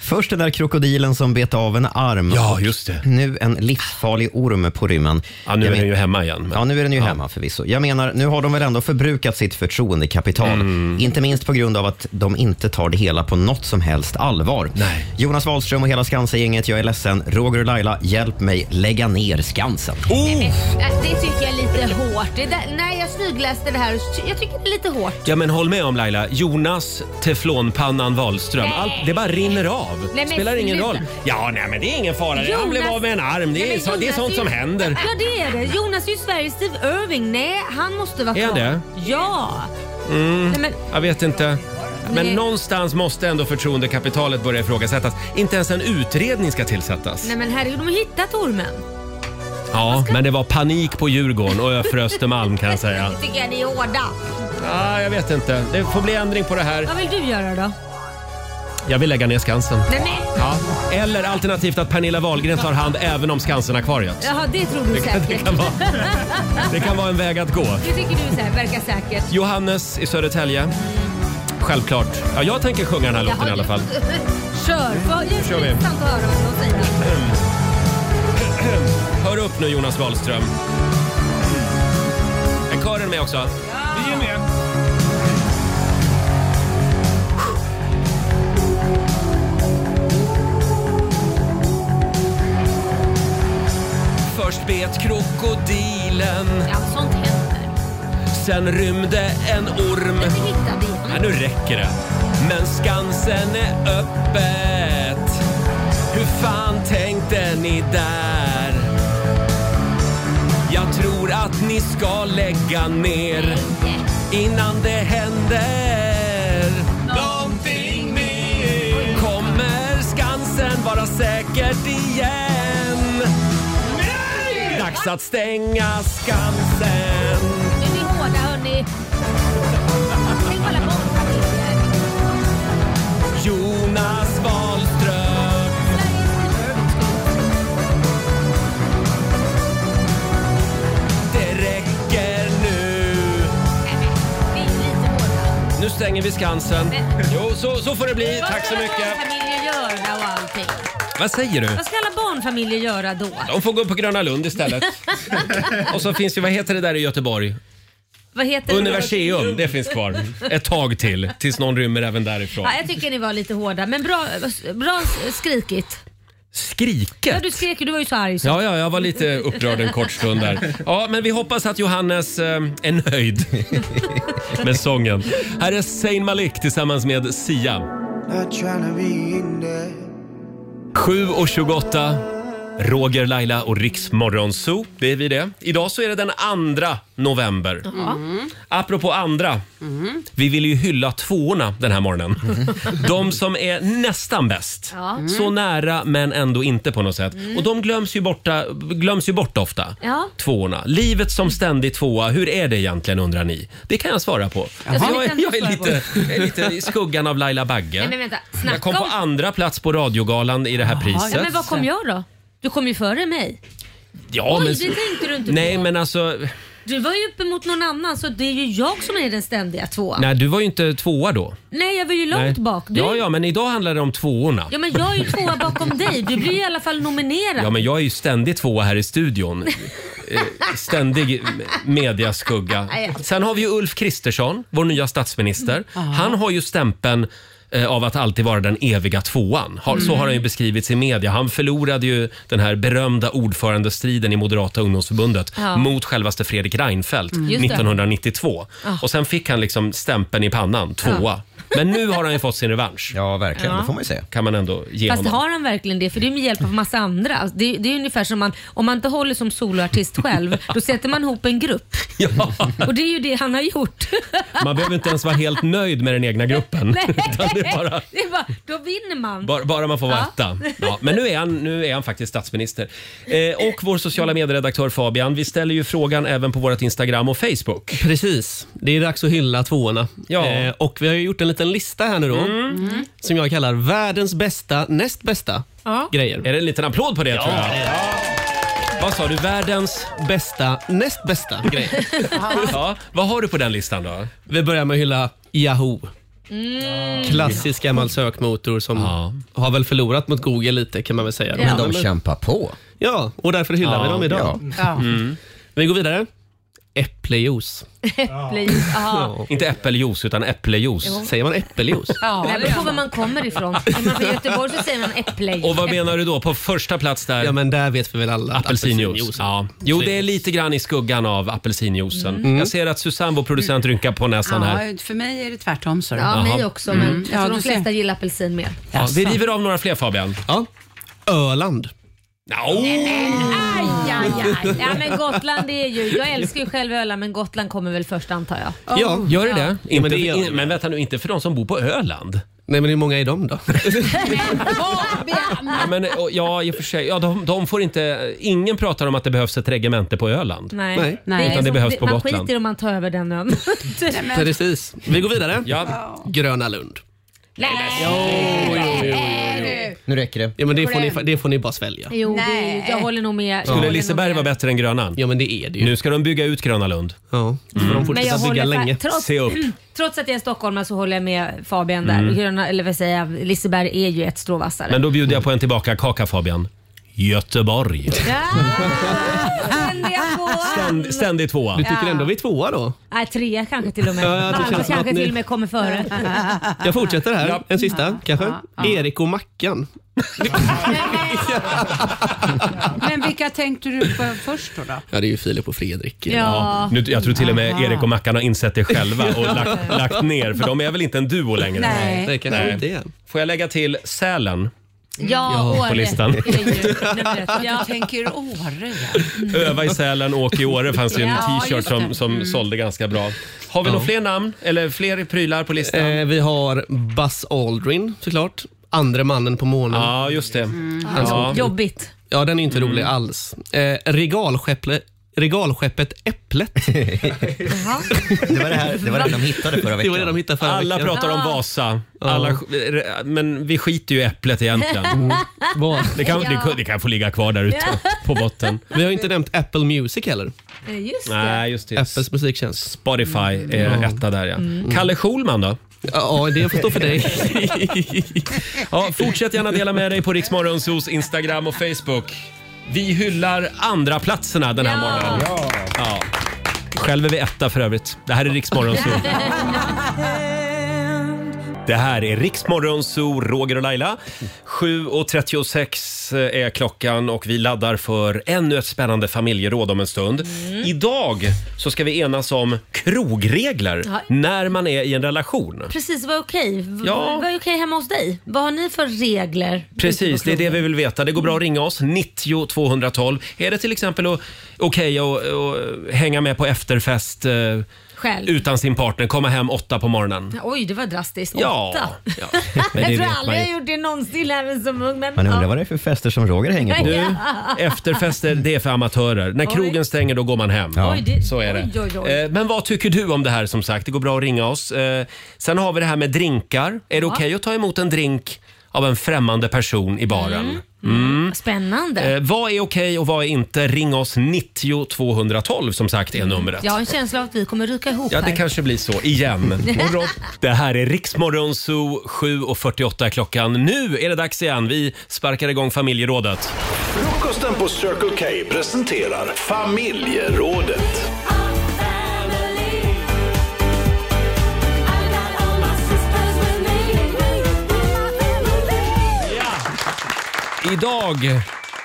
[SPEAKER 7] Först den där krokodilen som bet av en arm.
[SPEAKER 1] Ja, just det.
[SPEAKER 7] Nu en livsfarlig orm på rymmen.
[SPEAKER 1] Ja, nu
[SPEAKER 7] Jag
[SPEAKER 1] är
[SPEAKER 7] men-
[SPEAKER 1] den ju hemma igen. men-
[SPEAKER 7] Ja, nu är den ju hemma förvisso. Jag menar, nu har de väl ändå förbrukat sitt förtroendekapital.
[SPEAKER 1] Mm.
[SPEAKER 7] Inte minst på grund av att de inte tar det hela på något som helst allvar.
[SPEAKER 1] Nej.
[SPEAKER 7] Jonas Wahlström och hela Skansen-gänget, jag är ledsen. Roger och Laila, hjälp mig lägga ner Skansen.
[SPEAKER 1] Oh!
[SPEAKER 2] Äh, Det tycker jag är lite hårt. Det där, nej, jag smygläste det här och ty- jag tycker det är lite hårt.
[SPEAKER 1] Ja men håll med om Laila, Jonas Teflonpannan Wahlström. Allt, det bara rinner av.
[SPEAKER 2] Nej, men
[SPEAKER 1] Spelar ingen
[SPEAKER 2] sluta.
[SPEAKER 1] roll. Ja, nej men det är ingen fara. Han
[SPEAKER 2] Jonas-
[SPEAKER 1] blev av med en arm. Det är,
[SPEAKER 2] Nej, men
[SPEAKER 1] så, det är
[SPEAKER 2] Jonas
[SPEAKER 1] sånt
[SPEAKER 2] ju-
[SPEAKER 1] som händer.
[SPEAKER 2] Ja, det är det. Jonas är ju Sveriges Steve Irving. Nej, han måste vara
[SPEAKER 1] Är
[SPEAKER 2] kvar.
[SPEAKER 1] det? Mm.
[SPEAKER 2] Ja. Nej, men,
[SPEAKER 1] Jag vet inte. Men
[SPEAKER 2] Nej.
[SPEAKER 1] någonstans måste ändå förtroendekapitalet börja ifrågasättas. Inte ens en utredning ska tillsättas.
[SPEAKER 2] nej, men herregud, de har hittat ormen.
[SPEAKER 1] Ja, men det var panik på Djurgården och Öfre Östermalm kan jag säga.
[SPEAKER 2] Det tycker jag ni är hårda.
[SPEAKER 1] Ah, jag vet inte. Det får bli ändring på det här.
[SPEAKER 2] Vad vill du göra då?
[SPEAKER 1] Jag vill lägga ner Skansen.
[SPEAKER 2] Nej, men,
[SPEAKER 1] Ja. Eller alternativt att Pernilla Wahlgren tar hand även om Skansen-akvariet.
[SPEAKER 2] jaha, det tror du
[SPEAKER 1] Det
[SPEAKER 2] säkert.
[SPEAKER 1] kan vara, det kan vara en väg att gå.
[SPEAKER 2] Det tycker du så här, verkar säkert.
[SPEAKER 1] Johannes i Södertälje. Självklart. Ja, jag tänker sjunga den här låten i alla fall.
[SPEAKER 2] Kör! Vad- Det
[SPEAKER 1] kör vi.
[SPEAKER 2] är intressant att höra vad de säger.
[SPEAKER 1] Hör upp nu Jonas Wahlström. Är kören med också? Vi är med. Först bet krokodilen,
[SPEAKER 2] Ja, sånt händer.
[SPEAKER 1] sen rymde en orm.
[SPEAKER 2] Men vi hittade igen.
[SPEAKER 1] Ja, nu räcker det. Men Skansen är öppet. Hur fan tänkte ni där? Jag tror att ni ska lägga ner innan det händer någonting mer. Kommer Skansen vara säkert igen? Nej! Dags att stänga Skansen.
[SPEAKER 2] Nu är vi hårda hörni. Tänk på alla barnfamiljer.
[SPEAKER 1] Jonas Wahlström. Det räcker nu.
[SPEAKER 2] Det är lite hårda.
[SPEAKER 1] Nu stänger vi Skansen.
[SPEAKER 2] Men-
[SPEAKER 1] Jo, så, så får det bli. Tack så
[SPEAKER 2] Vad ska alla
[SPEAKER 1] mycket.
[SPEAKER 2] barnfamiljer göra och allting?
[SPEAKER 1] Vad säger du?
[SPEAKER 2] Vad ska alla barnfamiljer göra då?
[SPEAKER 1] De får gå på Gröna Lund istället. Och så finns ju, vad heter det där i Göteborg?
[SPEAKER 2] Vad heter det?
[SPEAKER 1] Universium, det finns kvar. Ett tag till, tills någon rymmer även därifrån.
[SPEAKER 2] Ja, jag tycker ni var lite hårda, men bra, bra skrikigt. Ja,
[SPEAKER 1] Skriket!
[SPEAKER 2] du skrek ju, du var ju så arg. Så.
[SPEAKER 1] Ja, ja, jag var lite upprörd en kort stund där. Ja, men vi hoppas att Johannes eh, är nöjd med sången. Här är Zayn Malik tillsammans med Sia.
[SPEAKER 6] Not trying to be in there.
[SPEAKER 1] 7.28. Roger, Laila och Riks Morgonzoo, det är vi det. Idag så är det den andra november.
[SPEAKER 5] Mm.
[SPEAKER 1] Apropå andra,
[SPEAKER 5] Mm.
[SPEAKER 1] vi vill ju hylla tvåorna den här morgonen. De som är nästan bäst.
[SPEAKER 2] Mm. Ja. Mm.
[SPEAKER 1] Så nära men ändå inte på något sätt.
[SPEAKER 2] Mm.
[SPEAKER 1] Och de glöms ju, borta, glöms ju bort ofta.
[SPEAKER 2] Ja.
[SPEAKER 1] Tvåorna. Livet som ständig tvåa, hur är det egentligen undrar ni? Det kan jag svara på. Alltså,
[SPEAKER 2] Ja, det
[SPEAKER 1] Jag,
[SPEAKER 2] kan
[SPEAKER 1] är,
[SPEAKER 2] du
[SPEAKER 1] jag, är
[SPEAKER 2] svara
[SPEAKER 1] lite,
[SPEAKER 2] på.
[SPEAKER 1] jag är lite i skuggan av Laila Bagge.
[SPEAKER 2] Nej men vänta,
[SPEAKER 1] jag kom
[SPEAKER 2] snacka
[SPEAKER 1] på
[SPEAKER 2] om... Ah.
[SPEAKER 1] andra plats på radiogalan i det här priset.
[SPEAKER 2] Ja, men vad kom jag då? Du kom ju före mig.
[SPEAKER 1] Ja,
[SPEAKER 2] Oj,
[SPEAKER 1] men...
[SPEAKER 2] det tänkte du inte
[SPEAKER 1] Nej,
[SPEAKER 2] på.
[SPEAKER 1] men alltså...
[SPEAKER 2] Du var ju uppe mot någon annan så det är ju jag som är den ständiga tvåan. Nej,
[SPEAKER 1] Nej, du var ju inte tvåa då.
[SPEAKER 2] jag var ju långt
[SPEAKER 1] Nej.
[SPEAKER 2] bak. Du...
[SPEAKER 1] Ja, ja, men idag handlar det om tvåorna.
[SPEAKER 2] Ja, men jag är ju tvåa bakom dig. Du blir ju i alla fall nominerad.
[SPEAKER 1] Ja, men jag är ju ständigt tvåa här i studion. Eh, Ständig mediaskugga.
[SPEAKER 2] Nej.
[SPEAKER 1] Sen har vi ju Ulf Kristersson, vår nya statsminister.
[SPEAKER 5] Mm.
[SPEAKER 1] Han har ju stämpeln eh, av att alltid vara den eviga tvåan. Har- Så
[SPEAKER 5] Mm.
[SPEAKER 1] har han ju beskrivits i media. Han förlorade ju den här berömda ordförandestriden i Moderata ungdomsförbundet
[SPEAKER 5] Ja.
[SPEAKER 1] mot självaste Fredrik Reinfeldt
[SPEAKER 5] Mm. Just det. Ah.
[SPEAKER 1] 1992.
[SPEAKER 5] Ja.
[SPEAKER 1] Och sen fick han liksom stämpeln i pannan, tvåa.
[SPEAKER 5] Ah.
[SPEAKER 1] Men nu har han ju fått sin revansch. Ja, verkligen.
[SPEAKER 2] Ja. Det får man ju
[SPEAKER 1] säga. Kan man ändå ge
[SPEAKER 2] Fast
[SPEAKER 1] honom.
[SPEAKER 2] har han verkligen det? För det är med hjälp av massa andra. Alltså, Det, det är ungefär som man, om man inte håller som soloartist själv, då sätter man ihop en grupp. Och det är ju det han har gjort.
[SPEAKER 1] Man behöver inte ens vara helt nöjd med den egna gruppen.
[SPEAKER 2] Nej,
[SPEAKER 1] Utan det är bara,
[SPEAKER 2] det är bara, då vinner man.
[SPEAKER 1] bara, bara man får vara
[SPEAKER 2] Ja.
[SPEAKER 1] etta. Ja, men nu är, han, nu är han faktiskt statsminister. Eh, och vår sociala medieredaktör Fabian, vi ställer ju frågan även på vårt Instagram och Facebook.
[SPEAKER 11] Precis. Det är dags att hylla tvåorna.
[SPEAKER 1] Ja.
[SPEAKER 11] Eh, och vi har ju gjort en liten lista här nu då.
[SPEAKER 1] Mm.
[SPEAKER 11] Som jag kallar världens bästa, näst bästa
[SPEAKER 2] Ja.
[SPEAKER 11] grejer.
[SPEAKER 1] Är det en liten applåd på det tror jag? Vad sa du? Världens
[SPEAKER 11] bästa, näst bästa grejer.
[SPEAKER 1] Ja, vad har du på den listan då?
[SPEAKER 11] Vi börjar med att hylla Yahoo.
[SPEAKER 2] Mm.
[SPEAKER 11] Klassisk gammal sökmotor som har väl förlorat mot Google lite kan man väl säga.
[SPEAKER 2] Ja. Men de
[SPEAKER 11] kämpar på. Ja, och därför hyllar
[SPEAKER 1] Ja.
[SPEAKER 11] vi dem idag.
[SPEAKER 2] Ja.
[SPEAKER 11] Mm. Vi går vidare. Äpplejuice.
[SPEAKER 2] Äpplejuice. Ja.
[SPEAKER 1] Inte äppeljuice utan
[SPEAKER 2] Jo.
[SPEAKER 1] äpplejuice.
[SPEAKER 11] Säger man äppeljuice?
[SPEAKER 2] Ja, det beror på var man kommer ifrån. Är man från Göteborg så säger man äpplejuice.
[SPEAKER 1] Och vad menar du då? På första plats där? Ja,
[SPEAKER 11] men där vet vi väl alla. att
[SPEAKER 1] Apelsinjuice.
[SPEAKER 11] apelsinjuice.
[SPEAKER 1] Ja. Jo, det är lite grann i skuggan av apelsinjuicen.
[SPEAKER 5] Mm.
[SPEAKER 1] Jag ser att Susanne, vår producent, rynkar på näsan här.
[SPEAKER 5] Ja, för mig är det tvärtom. Så.
[SPEAKER 2] Ja, mig
[SPEAKER 1] Jaha.
[SPEAKER 2] också.
[SPEAKER 1] Mm.
[SPEAKER 2] Men jag tror
[SPEAKER 5] Ja,
[SPEAKER 2] de
[SPEAKER 5] du ser.
[SPEAKER 2] flesta gillar apelsin mer.
[SPEAKER 1] Ja, vi river av några fler Fabian.
[SPEAKER 11] Ja. Öland.
[SPEAKER 2] Aj, aj, aj. Ja, men Gotland är ju... Jag älskar ju själv Öland, men Gotland kommer väl först antar jag.
[SPEAKER 1] gör det det?
[SPEAKER 11] Ja,
[SPEAKER 1] Inte
[SPEAKER 11] men det
[SPEAKER 1] för-
[SPEAKER 11] gör
[SPEAKER 1] in, men vänta nu, inte för de som bor på Öland?
[SPEAKER 11] Nej, men hur många är de då?
[SPEAKER 1] Ja, men, och, ja i och för sig. Ja, de, de får inte, ingen pratar om att det behövs ett regemente på Öland.
[SPEAKER 2] Nej.
[SPEAKER 1] Utan det,
[SPEAKER 2] är som-
[SPEAKER 1] behövs på
[SPEAKER 2] man Man
[SPEAKER 1] Gotland.
[SPEAKER 2] skiter om man tar över den ön.
[SPEAKER 11] Precis. Vi går vidare.
[SPEAKER 1] Ja.
[SPEAKER 11] Gröna Lund. Nu räcker det. Ja, men det, får ni, det får ni bara svälja.
[SPEAKER 2] Jo, det är, ju- jag håller nog med. Jag
[SPEAKER 1] Skulle
[SPEAKER 2] håller nog
[SPEAKER 1] Liseberg vara bättre än Grönan?
[SPEAKER 11] Ja, men det är det ju.
[SPEAKER 1] Nu ska de bygga ut Gröna Lund.
[SPEAKER 11] Ja, mm.
[SPEAKER 2] Men jag håller fa- Trots,
[SPEAKER 1] Se upp.
[SPEAKER 2] trots att jag är stockholmare så håller jag med Fabian där.
[SPEAKER 1] Mm.
[SPEAKER 2] Gröna, eller vad säger jag, Liseberg är ju ett strå vassare.
[SPEAKER 1] Men då bjuder jag på en tillbaka-kaka Fabian. Göteborg.
[SPEAKER 2] Tänder jag på?
[SPEAKER 1] Ständ, ständig tvåa.
[SPEAKER 2] Du tycker Ja. ändå
[SPEAKER 11] vi är tvåa då?
[SPEAKER 2] Nej, trea kanske till och med.
[SPEAKER 11] Ja, jag tycker det
[SPEAKER 2] Malmö
[SPEAKER 11] känns som
[SPEAKER 2] kanske
[SPEAKER 11] att ni-
[SPEAKER 2] till och med kommer före.
[SPEAKER 11] Jag fortsätter här. En sista kanske. Erik och Mackan.
[SPEAKER 5] Men vilka tänkte du på först då? då?
[SPEAKER 11] Ja, det är ju Filip och Fredrik.
[SPEAKER 5] Ja.
[SPEAKER 1] Nu, jag tror till och med
[SPEAKER 5] Aha.
[SPEAKER 1] Erik och Mackan har insett det själva och lagt, lagt ner för de är väl inte en duo längre?
[SPEAKER 2] Nej. Nej,
[SPEAKER 11] kanske inte
[SPEAKER 1] Får jag lägga till Sälen?
[SPEAKER 2] Ja, Åre.
[SPEAKER 1] på listan.
[SPEAKER 5] Jag tänker Åre.
[SPEAKER 1] Öva i Sälen, åk i Åre fanns det ju en
[SPEAKER 5] Ja,
[SPEAKER 1] t-shirt
[SPEAKER 5] just
[SPEAKER 1] som,
[SPEAKER 5] det.
[SPEAKER 1] som
[SPEAKER 5] Mm.
[SPEAKER 1] sålde ganska bra. Har vi
[SPEAKER 11] Ja.
[SPEAKER 1] några fler namn eller fler prylar på listan?
[SPEAKER 11] Eh, vi har Buzz Aldrin såklart. Andre mannen på månen.
[SPEAKER 1] Ja, just det.
[SPEAKER 5] Mm.
[SPEAKER 11] Han som-
[SPEAKER 1] Ja.
[SPEAKER 2] Jobbigt.
[SPEAKER 11] Ja, den är inte rolig
[SPEAKER 1] Mm.
[SPEAKER 11] alls. Eh, regalskeppet, regalskeppet Äpplet.
[SPEAKER 7] Det var det, här, det var det de hittade förra
[SPEAKER 11] Det
[SPEAKER 7] veckan.
[SPEAKER 11] var det de hittade förra
[SPEAKER 1] Alla
[SPEAKER 11] veckan.
[SPEAKER 1] pratar om Vasa, Alla, sk- men vi skiter ju i äpplet egentligen.
[SPEAKER 11] Mm. Vad?
[SPEAKER 1] Det kan, det, kan- det kan få ligga kvar där ute på botten.
[SPEAKER 11] Vi har inte nämnt Apple Music heller.
[SPEAKER 2] Eh, Just
[SPEAKER 1] Nej, just det.
[SPEAKER 11] Apples musiktjänst.
[SPEAKER 1] Spotify är
[SPEAKER 11] Ja.
[SPEAKER 1] etta där ja. Kalle Schulman då?
[SPEAKER 11] Ja, det får stå för dig.
[SPEAKER 1] ja, fortsätt gärna dela med dig på Riksmorgonsos Instagram och Facebook. Vi hyllar andra platserna den här
[SPEAKER 2] Ja.
[SPEAKER 1] morgonen. Ja. Själv är vi etta för övrigt. Det här är Riksmorgonso. Det här är Riksmorgon Zoo, Roger och Laila. 7.36 eh, är klockan och vi laddar för ännu ett spännande familjeråd om en stund.
[SPEAKER 2] Mm.
[SPEAKER 1] Idag så ska vi enas om krogregler
[SPEAKER 2] Ja.
[SPEAKER 1] när man är i en relation.
[SPEAKER 2] Precis, vad är okej? V-
[SPEAKER 1] Ja.
[SPEAKER 2] Vad är okej hemma hos dig? Vad har ni för regler?
[SPEAKER 1] Precis, det är det vi vill veta. Det går
[SPEAKER 2] Mm.
[SPEAKER 1] bra att ringa oss, 90 212. Är det till exempel o- okej att att hänga med på efterfest eh,
[SPEAKER 2] Själv?
[SPEAKER 1] utan sin partner, komma hem åtta på morgonen?
[SPEAKER 2] Oj, det var drastiskt.
[SPEAKER 1] Ja,
[SPEAKER 2] Åtta.
[SPEAKER 1] ja. Men det
[SPEAKER 2] jag tror
[SPEAKER 1] vet
[SPEAKER 2] aldrig
[SPEAKER 1] man ju.
[SPEAKER 2] jag gjort det någonsin även som ung. Men,
[SPEAKER 7] Man undrar
[SPEAKER 2] ja.
[SPEAKER 7] vad det är för fester som Roger hänger på.
[SPEAKER 1] Nu, efterfester, det är för amatörer. När
[SPEAKER 2] Oj.
[SPEAKER 1] krogen stänger, då går man hem.
[SPEAKER 2] Oj, det-
[SPEAKER 1] Så är
[SPEAKER 2] oj,
[SPEAKER 1] det.
[SPEAKER 2] oj, oj.
[SPEAKER 1] Eh, Men vad tycker du om det här som sagt? Det går bra att ringa oss. Eh, Sen har vi det här med drinkar. Är det
[SPEAKER 2] Ja.
[SPEAKER 1] okej att ta emot en drink av en främmande person i baren? Mm.
[SPEAKER 2] Spännande.
[SPEAKER 1] Eh, vad är okej och vad är inte? Ring oss 90 212 som sagt är numret.
[SPEAKER 2] Jag har en känsla av att vi kommer ryka ihop
[SPEAKER 1] Ja, det
[SPEAKER 2] här.
[SPEAKER 1] kanske blir så igen. Och Rob- det här är Riksmorgon Zoo, 7.48 är klockan. Nu är det dags igen. Vi sparkar igång familjerådet.
[SPEAKER 12] Frukosten på Circle K presenterar familjerådet.
[SPEAKER 1] Idag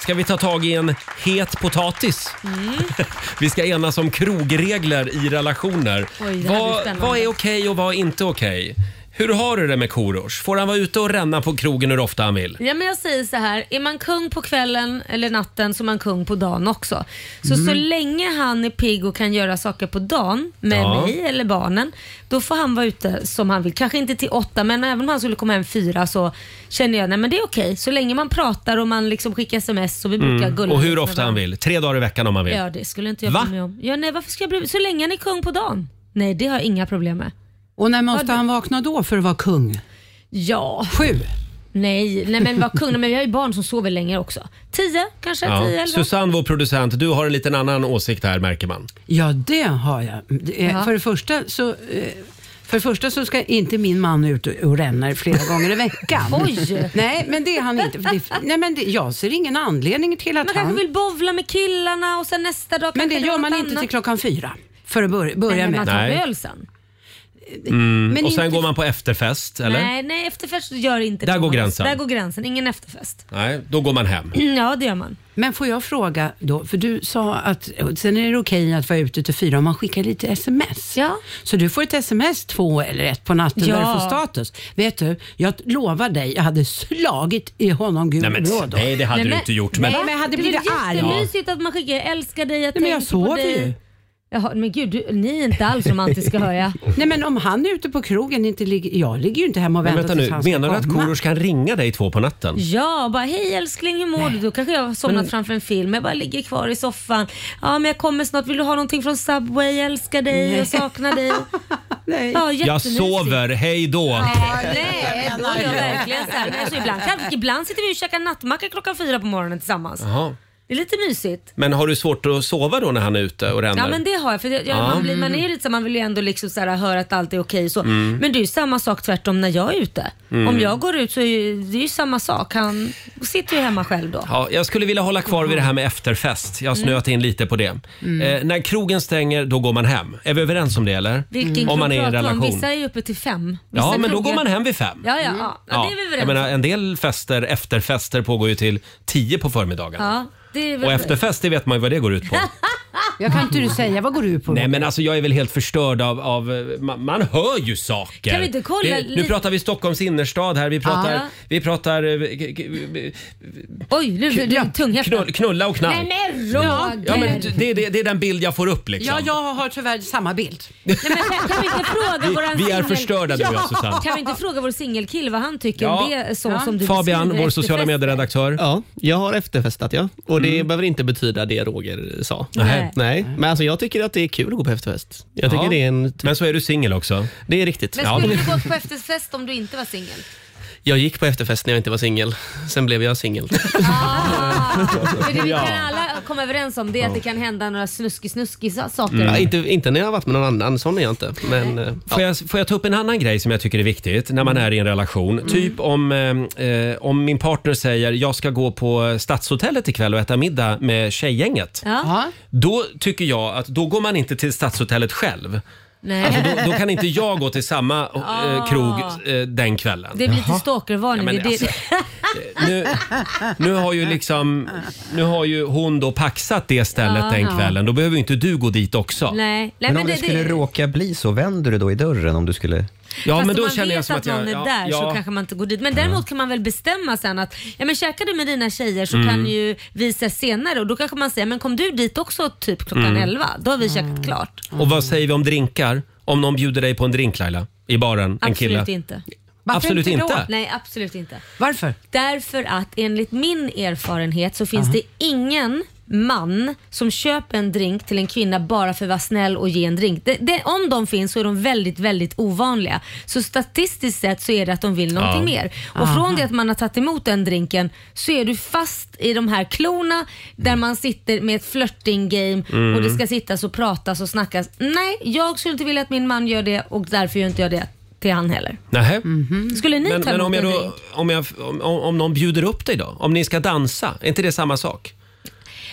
[SPEAKER 1] ska vi ta tag i en het potatis.
[SPEAKER 2] Mm.
[SPEAKER 1] Vi ska enas om krogregler i relationer.
[SPEAKER 2] Oj, det här blir
[SPEAKER 1] vad,
[SPEAKER 2] spännande.
[SPEAKER 1] vad är okej och vad är inte okej? Hur har du det med Korosh? Får han vara ute och ränna på krogen hur ofta han vill?
[SPEAKER 2] Ja, men jag säger så här, är man kung på kvällen eller natten så är man kung på dagen också. Så
[SPEAKER 1] Mm.
[SPEAKER 2] så länge han är pigg och kan göra saker på dagen med
[SPEAKER 1] Ja.
[SPEAKER 2] mig eller barnen, då får han vara ute som han vill. Kanske inte till åtta, men även om han skulle komma hem fyra så känner jag nej men det är okej. Så länge man pratar och man liksom skickar sms så vi brukar
[SPEAKER 1] Mm.
[SPEAKER 2] gulla
[SPEAKER 1] Och
[SPEAKER 2] lite
[SPEAKER 1] hur
[SPEAKER 2] med
[SPEAKER 1] ofta han
[SPEAKER 2] varandra.
[SPEAKER 1] vill? Tre dagar i veckan om han vill?
[SPEAKER 2] Ja, det skulle inte jag
[SPEAKER 1] Va?
[SPEAKER 2] bry mig om. Ja, nej, varför ska jag bry mig? Så länge han är kung på dagen. Nej, det har jag inga problem med.
[SPEAKER 5] Och när måste han vakna då för att vara kung?
[SPEAKER 2] Ja.
[SPEAKER 5] Sju?
[SPEAKER 2] Nej, nej men vad kung. Men vi har ju barn som sover längre också. Tio kanske?
[SPEAKER 1] Ja.
[SPEAKER 2] Tio eller
[SPEAKER 1] Susanne, vår producent, du har en liten annan åsikt här märker man.
[SPEAKER 5] Ja, det har jag. Det är,
[SPEAKER 2] Ja.
[SPEAKER 5] För, det första så, eh, för det första så ska inte min man ut och- och ränna flera gånger i veckan.
[SPEAKER 2] Oj.
[SPEAKER 5] Nej, men det är han inte. Det, nej, men det, jag ser ingen anledning till att
[SPEAKER 2] Man
[SPEAKER 5] han...
[SPEAKER 2] kanske vill bovla med killarna och sen nästa dag
[SPEAKER 5] Men
[SPEAKER 2] kanske
[SPEAKER 5] det gör
[SPEAKER 2] var
[SPEAKER 5] man
[SPEAKER 2] något
[SPEAKER 5] inte
[SPEAKER 2] annat.
[SPEAKER 5] till klockan fyra. För att börja, börja
[SPEAKER 2] Nej, men
[SPEAKER 5] med.
[SPEAKER 2] man tar
[SPEAKER 1] Nej.
[SPEAKER 2] öl sen.
[SPEAKER 1] Mm.
[SPEAKER 2] Men
[SPEAKER 1] Och sen
[SPEAKER 2] inte-
[SPEAKER 1] går man på efterfest, eller?
[SPEAKER 2] Nej, nej, efterfest gör inte
[SPEAKER 1] Där
[SPEAKER 2] det.
[SPEAKER 1] går gränsen.
[SPEAKER 2] Där går gränsen. Ingen efterfest.
[SPEAKER 1] Nej, då går man hem.
[SPEAKER 2] Ja, det gör man.
[SPEAKER 5] Men får jag fråga då, för du sa att sen är det okej att vara ute till fyra om man skickar lite sms.
[SPEAKER 2] Ja.
[SPEAKER 5] Så du får ett sms två eller ett på natten
[SPEAKER 2] Ja.
[SPEAKER 5] där du får status. Vet du, jag lovar dig, jag hade slagit i honom gud
[SPEAKER 1] Nej, men-
[SPEAKER 5] blå då.
[SPEAKER 1] nej, det hade Nej, du men- inte gjort, men-
[SPEAKER 5] Nej, men jag hade
[SPEAKER 2] det är
[SPEAKER 5] blivit
[SPEAKER 2] väl
[SPEAKER 5] arg.
[SPEAKER 2] jättemysigt att man skickar jag älskar dig, jag
[SPEAKER 5] Nej, men jag
[SPEAKER 2] tänker på
[SPEAKER 5] sover
[SPEAKER 2] dig.
[SPEAKER 5] ju.
[SPEAKER 2] Jaha, men gud, du, ni är inte alls romantiska hör jag.
[SPEAKER 5] Nej men om han är ute på krogen, inte ligger, jag ligger ju inte hemma och
[SPEAKER 1] Men
[SPEAKER 5] väntar
[SPEAKER 1] vänta
[SPEAKER 5] tills
[SPEAKER 1] nu,
[SPEAKER 5] han ska
[SPEAKER 1] menar du att
[SPEAKER 5] komma.
[SPEAKER 1] Korosh kan ringa dig två på natten?
[SPEAKER 2] Ja, bara hej älskling hur mår du? Då kanske jag har somnat framför en film. Jag bara ligger kvar i soffan. Ja, men jag kommer snart. Vill du ha någonting från Subway? Jag älskar dig, jag saknar dig.
[SPEAKER 5] Nej.
[SPEAKER 2] Ja,
[SPEAKER 1] Jag
[SPEAKER 2] jättemysigt.
[SPEAKER 1] sover, hej då!
[SPEAKER 2] Nej, då är jag verkligen så här. Men alltså, ibland, kan- ibland sitter vi och käkar nattmacka klockan fyra på morgonen tillsammans.
[SPEAKER 1] Jaha.
[SPEAKER 2] Det är lite mysigt.
[SPEAKER 1] Men har du svårt att sova då när han är ute och ränner?
[SPEAKER 2] Ja men det har jag. För jag, jag-
[SPEAKER 1] Ja.
[SPEAKER 2] man, blir, man är ju lite så här, man vill ju ändå liksom så här, höra att allt är okej. och så.
[SPEAKER 1] Mm.
[SPEAKER 2] Men det är ju samma sak tvärtom när jag är ute.
[SPEAKER 1] Mm.
[SPEAKER 2] Om jag går ut så är ju, det är ju samma sak. Han sitter ju hemma själv då.
[SPEAKER 1] Ja, jag skulle vilja hålla kvar vid det här med efterfest. Jag har snöat in lite på det.
[SPEAKER 2] Mm.
[SPEAKER 1] Eh, när krogen stänger, då går man hem. Är vi överens om det eller?
[SPEAKER 2] Vilken
[SPEAKER 1] Mm. om
[SPEAKER 2] klubb
[SPEAKER 1] man är i en
[SPEAKER 2] pratar du om?
[SPEAKER 1] relation.
[SPEAKER 2] Vissa är ju uppe till fem. Vissa
[SPEAKER 1] Ja, men då
[SPEAKER 2] krogar-
[SPEAKER 1] går man hem vid fem. Mm.
[SPEAKER 2] Ja, ja, ja. ja, det är vi
[SPEAKER 1] jag
[SPEAKER 2] överens
[SPEAKER 1] menar,
[SPEAKER 2] om.
[SPEAKER 1] en del fester, efterfester pågår ju till tio på förmiddagen.
[SPEAKER 2] Ja, det är vi
[SPEAKER 1] Och
[SPEAKER 2] överens.
[SPEAKER 1] efterfest, det vet man ju vad det går ut på.
[SPEAKER 5] Jag kan inte du säga, vad går du på?
[SPEAKER 1] Nej men alltså jag är väl helt förstörd av, av man, man hör ju saker.
[SPEAKER 2] Kan vi inte kolla
[SPEAKER 1] det,
[SPEAKER 2] lite-
[SPEAKER 1] nu pratar vi Stockholms innerstad här, vi pratar,
[SPEAKER 2] Ja.
[SPEAKER 1] vi pratar eh, k- k-
[SPEAKER 2] Oj, nu blev du tunghäftad.
[SPEAKER 1] knull, knulla och knall.
[SPEAKER 2] Nej men Roger!
[SPEAKER 1] Ja, men det, det, det är den bild jag får upp liksom.
[SPEAKER 5] Ja, jag har tyvärr samma bild.
[SPEAKER 2] Nej, men kan vi inte fråga
[SPEAKER 1] Vi-
[SPEAKER 2] våran
[SPEAKER 1] vi är
[SPEAKER 2] singel-
[SPEAKER 1] förstörda nu, ja, Susanne.
[SPEAKER 2] Kan vi inte fråga vår singelkille vad han tycker om det är så som du
[SPEAKER 1] Fabian,
[SPEAKER 2] beskriver
[SPEAKER 1] vår sociala
[SPEAKER 2] efterfest?
[SPEAKER 1] medieredaktör.
[SPEAKER 11] Ja, jag har efterfestat ja. Och det
[SPEAKER 7] Mm.
[SPEAKER 11] behöver inte betyda det Roger sa.
[SPEAKER 1] Nej.
[SPEAKER 11] Nej. Men alltså, jag tycker att det är kul att gå på efterfest. Jag tycker
[SPEAKER 1] Ja.
[SPEAKER 11] det är en...
[SPEAKER 1] Men så är du singel också.
[SPEAKER 11] Det är riktigt.
[SPEAKER 2] Men skulle du gått på efterfest om du inte var singel?
[SPEAKER 11] Jag gick på efterfest när jag inte var singel. Sen blev jag singel.
[SPEAKER 7] Mm.
[SPEAKER 2] För det vi
[SPEAKER 11] Ja.
[SPEAKER 2] kan alla komma överens om det är att det kan hända några snuskig-snuskig saker.
[SPEAKER 11] Ja,
[SPEAKER 1] Mm.
[SPEAKER 11] inte, inte när jag har varit med någon annan, sån är jag inte. Men, eh,
[SPEAKER 1] Får jag, får jag ta upp en annan grej som jag tycker är viktigt när
[SPEAKER 2] Mm.
[SPEAKER 1] man är i en relation? Typ om, eh, eh, om min partner säger jag ska gå på Stadshotellet ikväll och äta middag med tjejgänget.
[SPEAKER 2] Ja.
[SPEAKER 1] Då tycker jag att då går man inte till Stadshotellet själv.
[SPEAKER 2] Nej.
[SPEAKER 1] Alltså, då, då kan inte jag gå till samma eh,
[SPEAKER 2] Ah.
[SPEAKER 1] krog eh, den kvällen.
[SPEAKER 2] Det blir lite
[SPEAKER 1] Jaha.
[SPEAKER 2] stalkervarning.
[SPEAKER 1] Ja, men alltså, eh,
[SPEAKER 2] det, är det.
[SPEAKER 1] nu, Nu har ju liksom Nu har ju hon då paxat det stället
[SPEAKER 2] Ja.
[SPEAKER 1] den kvällen. Då behöver ju inte du gå dit också.
[SPEAKER 2] Ah. Nej, nej,
[SPEAKER 7] men, om
[SPEAKER 2] men
[SPEAKER 7] det,
[SPEAKER 2] det-
[SPEAKER 7] skulle
[SPEAKER 2] det-
[SPEAKER 7] råka bli så, vänder du då i dörren om du skulle...
[SPEAKER 1] Ja,
[SPEAKER 2] Fast om man vet att, någon är där så kanske man inte går dit. Men
[SPEAKER 1] Mm.
[SPEAKER 2] däremot kan man väl bestämma sen att ja, men käkar du med dina tjejer så
[SPEAKER 1] Mm.
[SPEAKER 2] kan ju vi ses senare och då kanske man säger men kom du dit också typ klockan
[SPEAKER 1] Mm.
[SPEAKER 2] 11. Då har vi käkat klart.
[SPEAKER 1] Och vad säger vi om drinkar? Om någon bjuder dig på en drink Laila, i baren, en kille.
[SPEAKER 2] Absolut inte.
[SPEAKER 1] Varför Absolut inte då? inte?
[SPEAKER 2] Nej, absolut inte.
[SPEAKER 5] Varför?
[SPEAKER 2] Därför att enligt min erfarenhet så finns
[SPEAKER 5] Aha.
[SPEAKER 2] det ingen man som köper en drink till en kvinna bara för att vara snäll och ge en drink. Det, det, om de finns så är de väldigt, väldigt ovanliga. Så statistiskt sett så är det att de vill någonting
[SPEAKER 13] Ja.
[SPEAKER 2] mer. Och
[SPEAKER 13] Aha.
[SPEAKER 2] från det att man har tagit emot den drinken så är du fast i de här klorna där man sitter med ett flirting game
[SPEAKER 13] Mm.
[SPEAKER 2] och det ska sittas och pratas och snackas. Nej, jag skulle inte vilja att min man gör det och därför gör inte jag det till han heller.
[SPEAKER 1] Nähä.
[SPEAKER 2] Skulle Mm-hmm. ni
[SPEAKER 1] Mm. Men,
[SPEAKER 2] ta
[SPEAKER 1] men
[SPEAKER 2] emot
[SPEAKER 1] om, jag
[SPEAKER 2] en
[SPEAKER 1] då,
[SPEAKER 2] drink?
[SPEAKER 1] om, jag, om, om någon bjuder upp dig då? Om ni ska dansa, är inte det samma sak?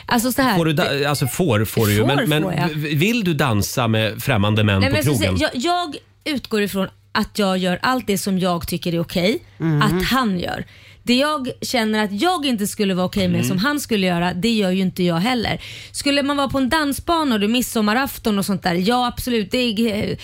[SPEAKER 2] Alltså så här.
[SPEAKER 1] Får du da- alltså får får du ju,
[SPEAKER 2] Får
[SPEAKER 1] men, men
[SPEAKER 2] får jag.
[SPEAKER 1] v- vill du dansa med främmande män
[SPEAKER 2] Nej, men
[SPEAKER 1] på
[SPEAKER 2] jag, liksom, ska
[SPEAKER 1] krogen?
[SPEAKER 2] säga, jag, jag utgår ifrån att jag gör allt det som jag tycker är okej
[SPEAKER 13] Mm.
[SPEAKER 2] att han gör. Det jag känner att jag inte skulle vara okej med
[SPEAKER 13] Mm.
[SPEAKER 2] som han skulle göra, det gör ju inte jag heller. Skulle man vara på en dansbana och det är midsommarafton och sånt där, ja absolut. Det är,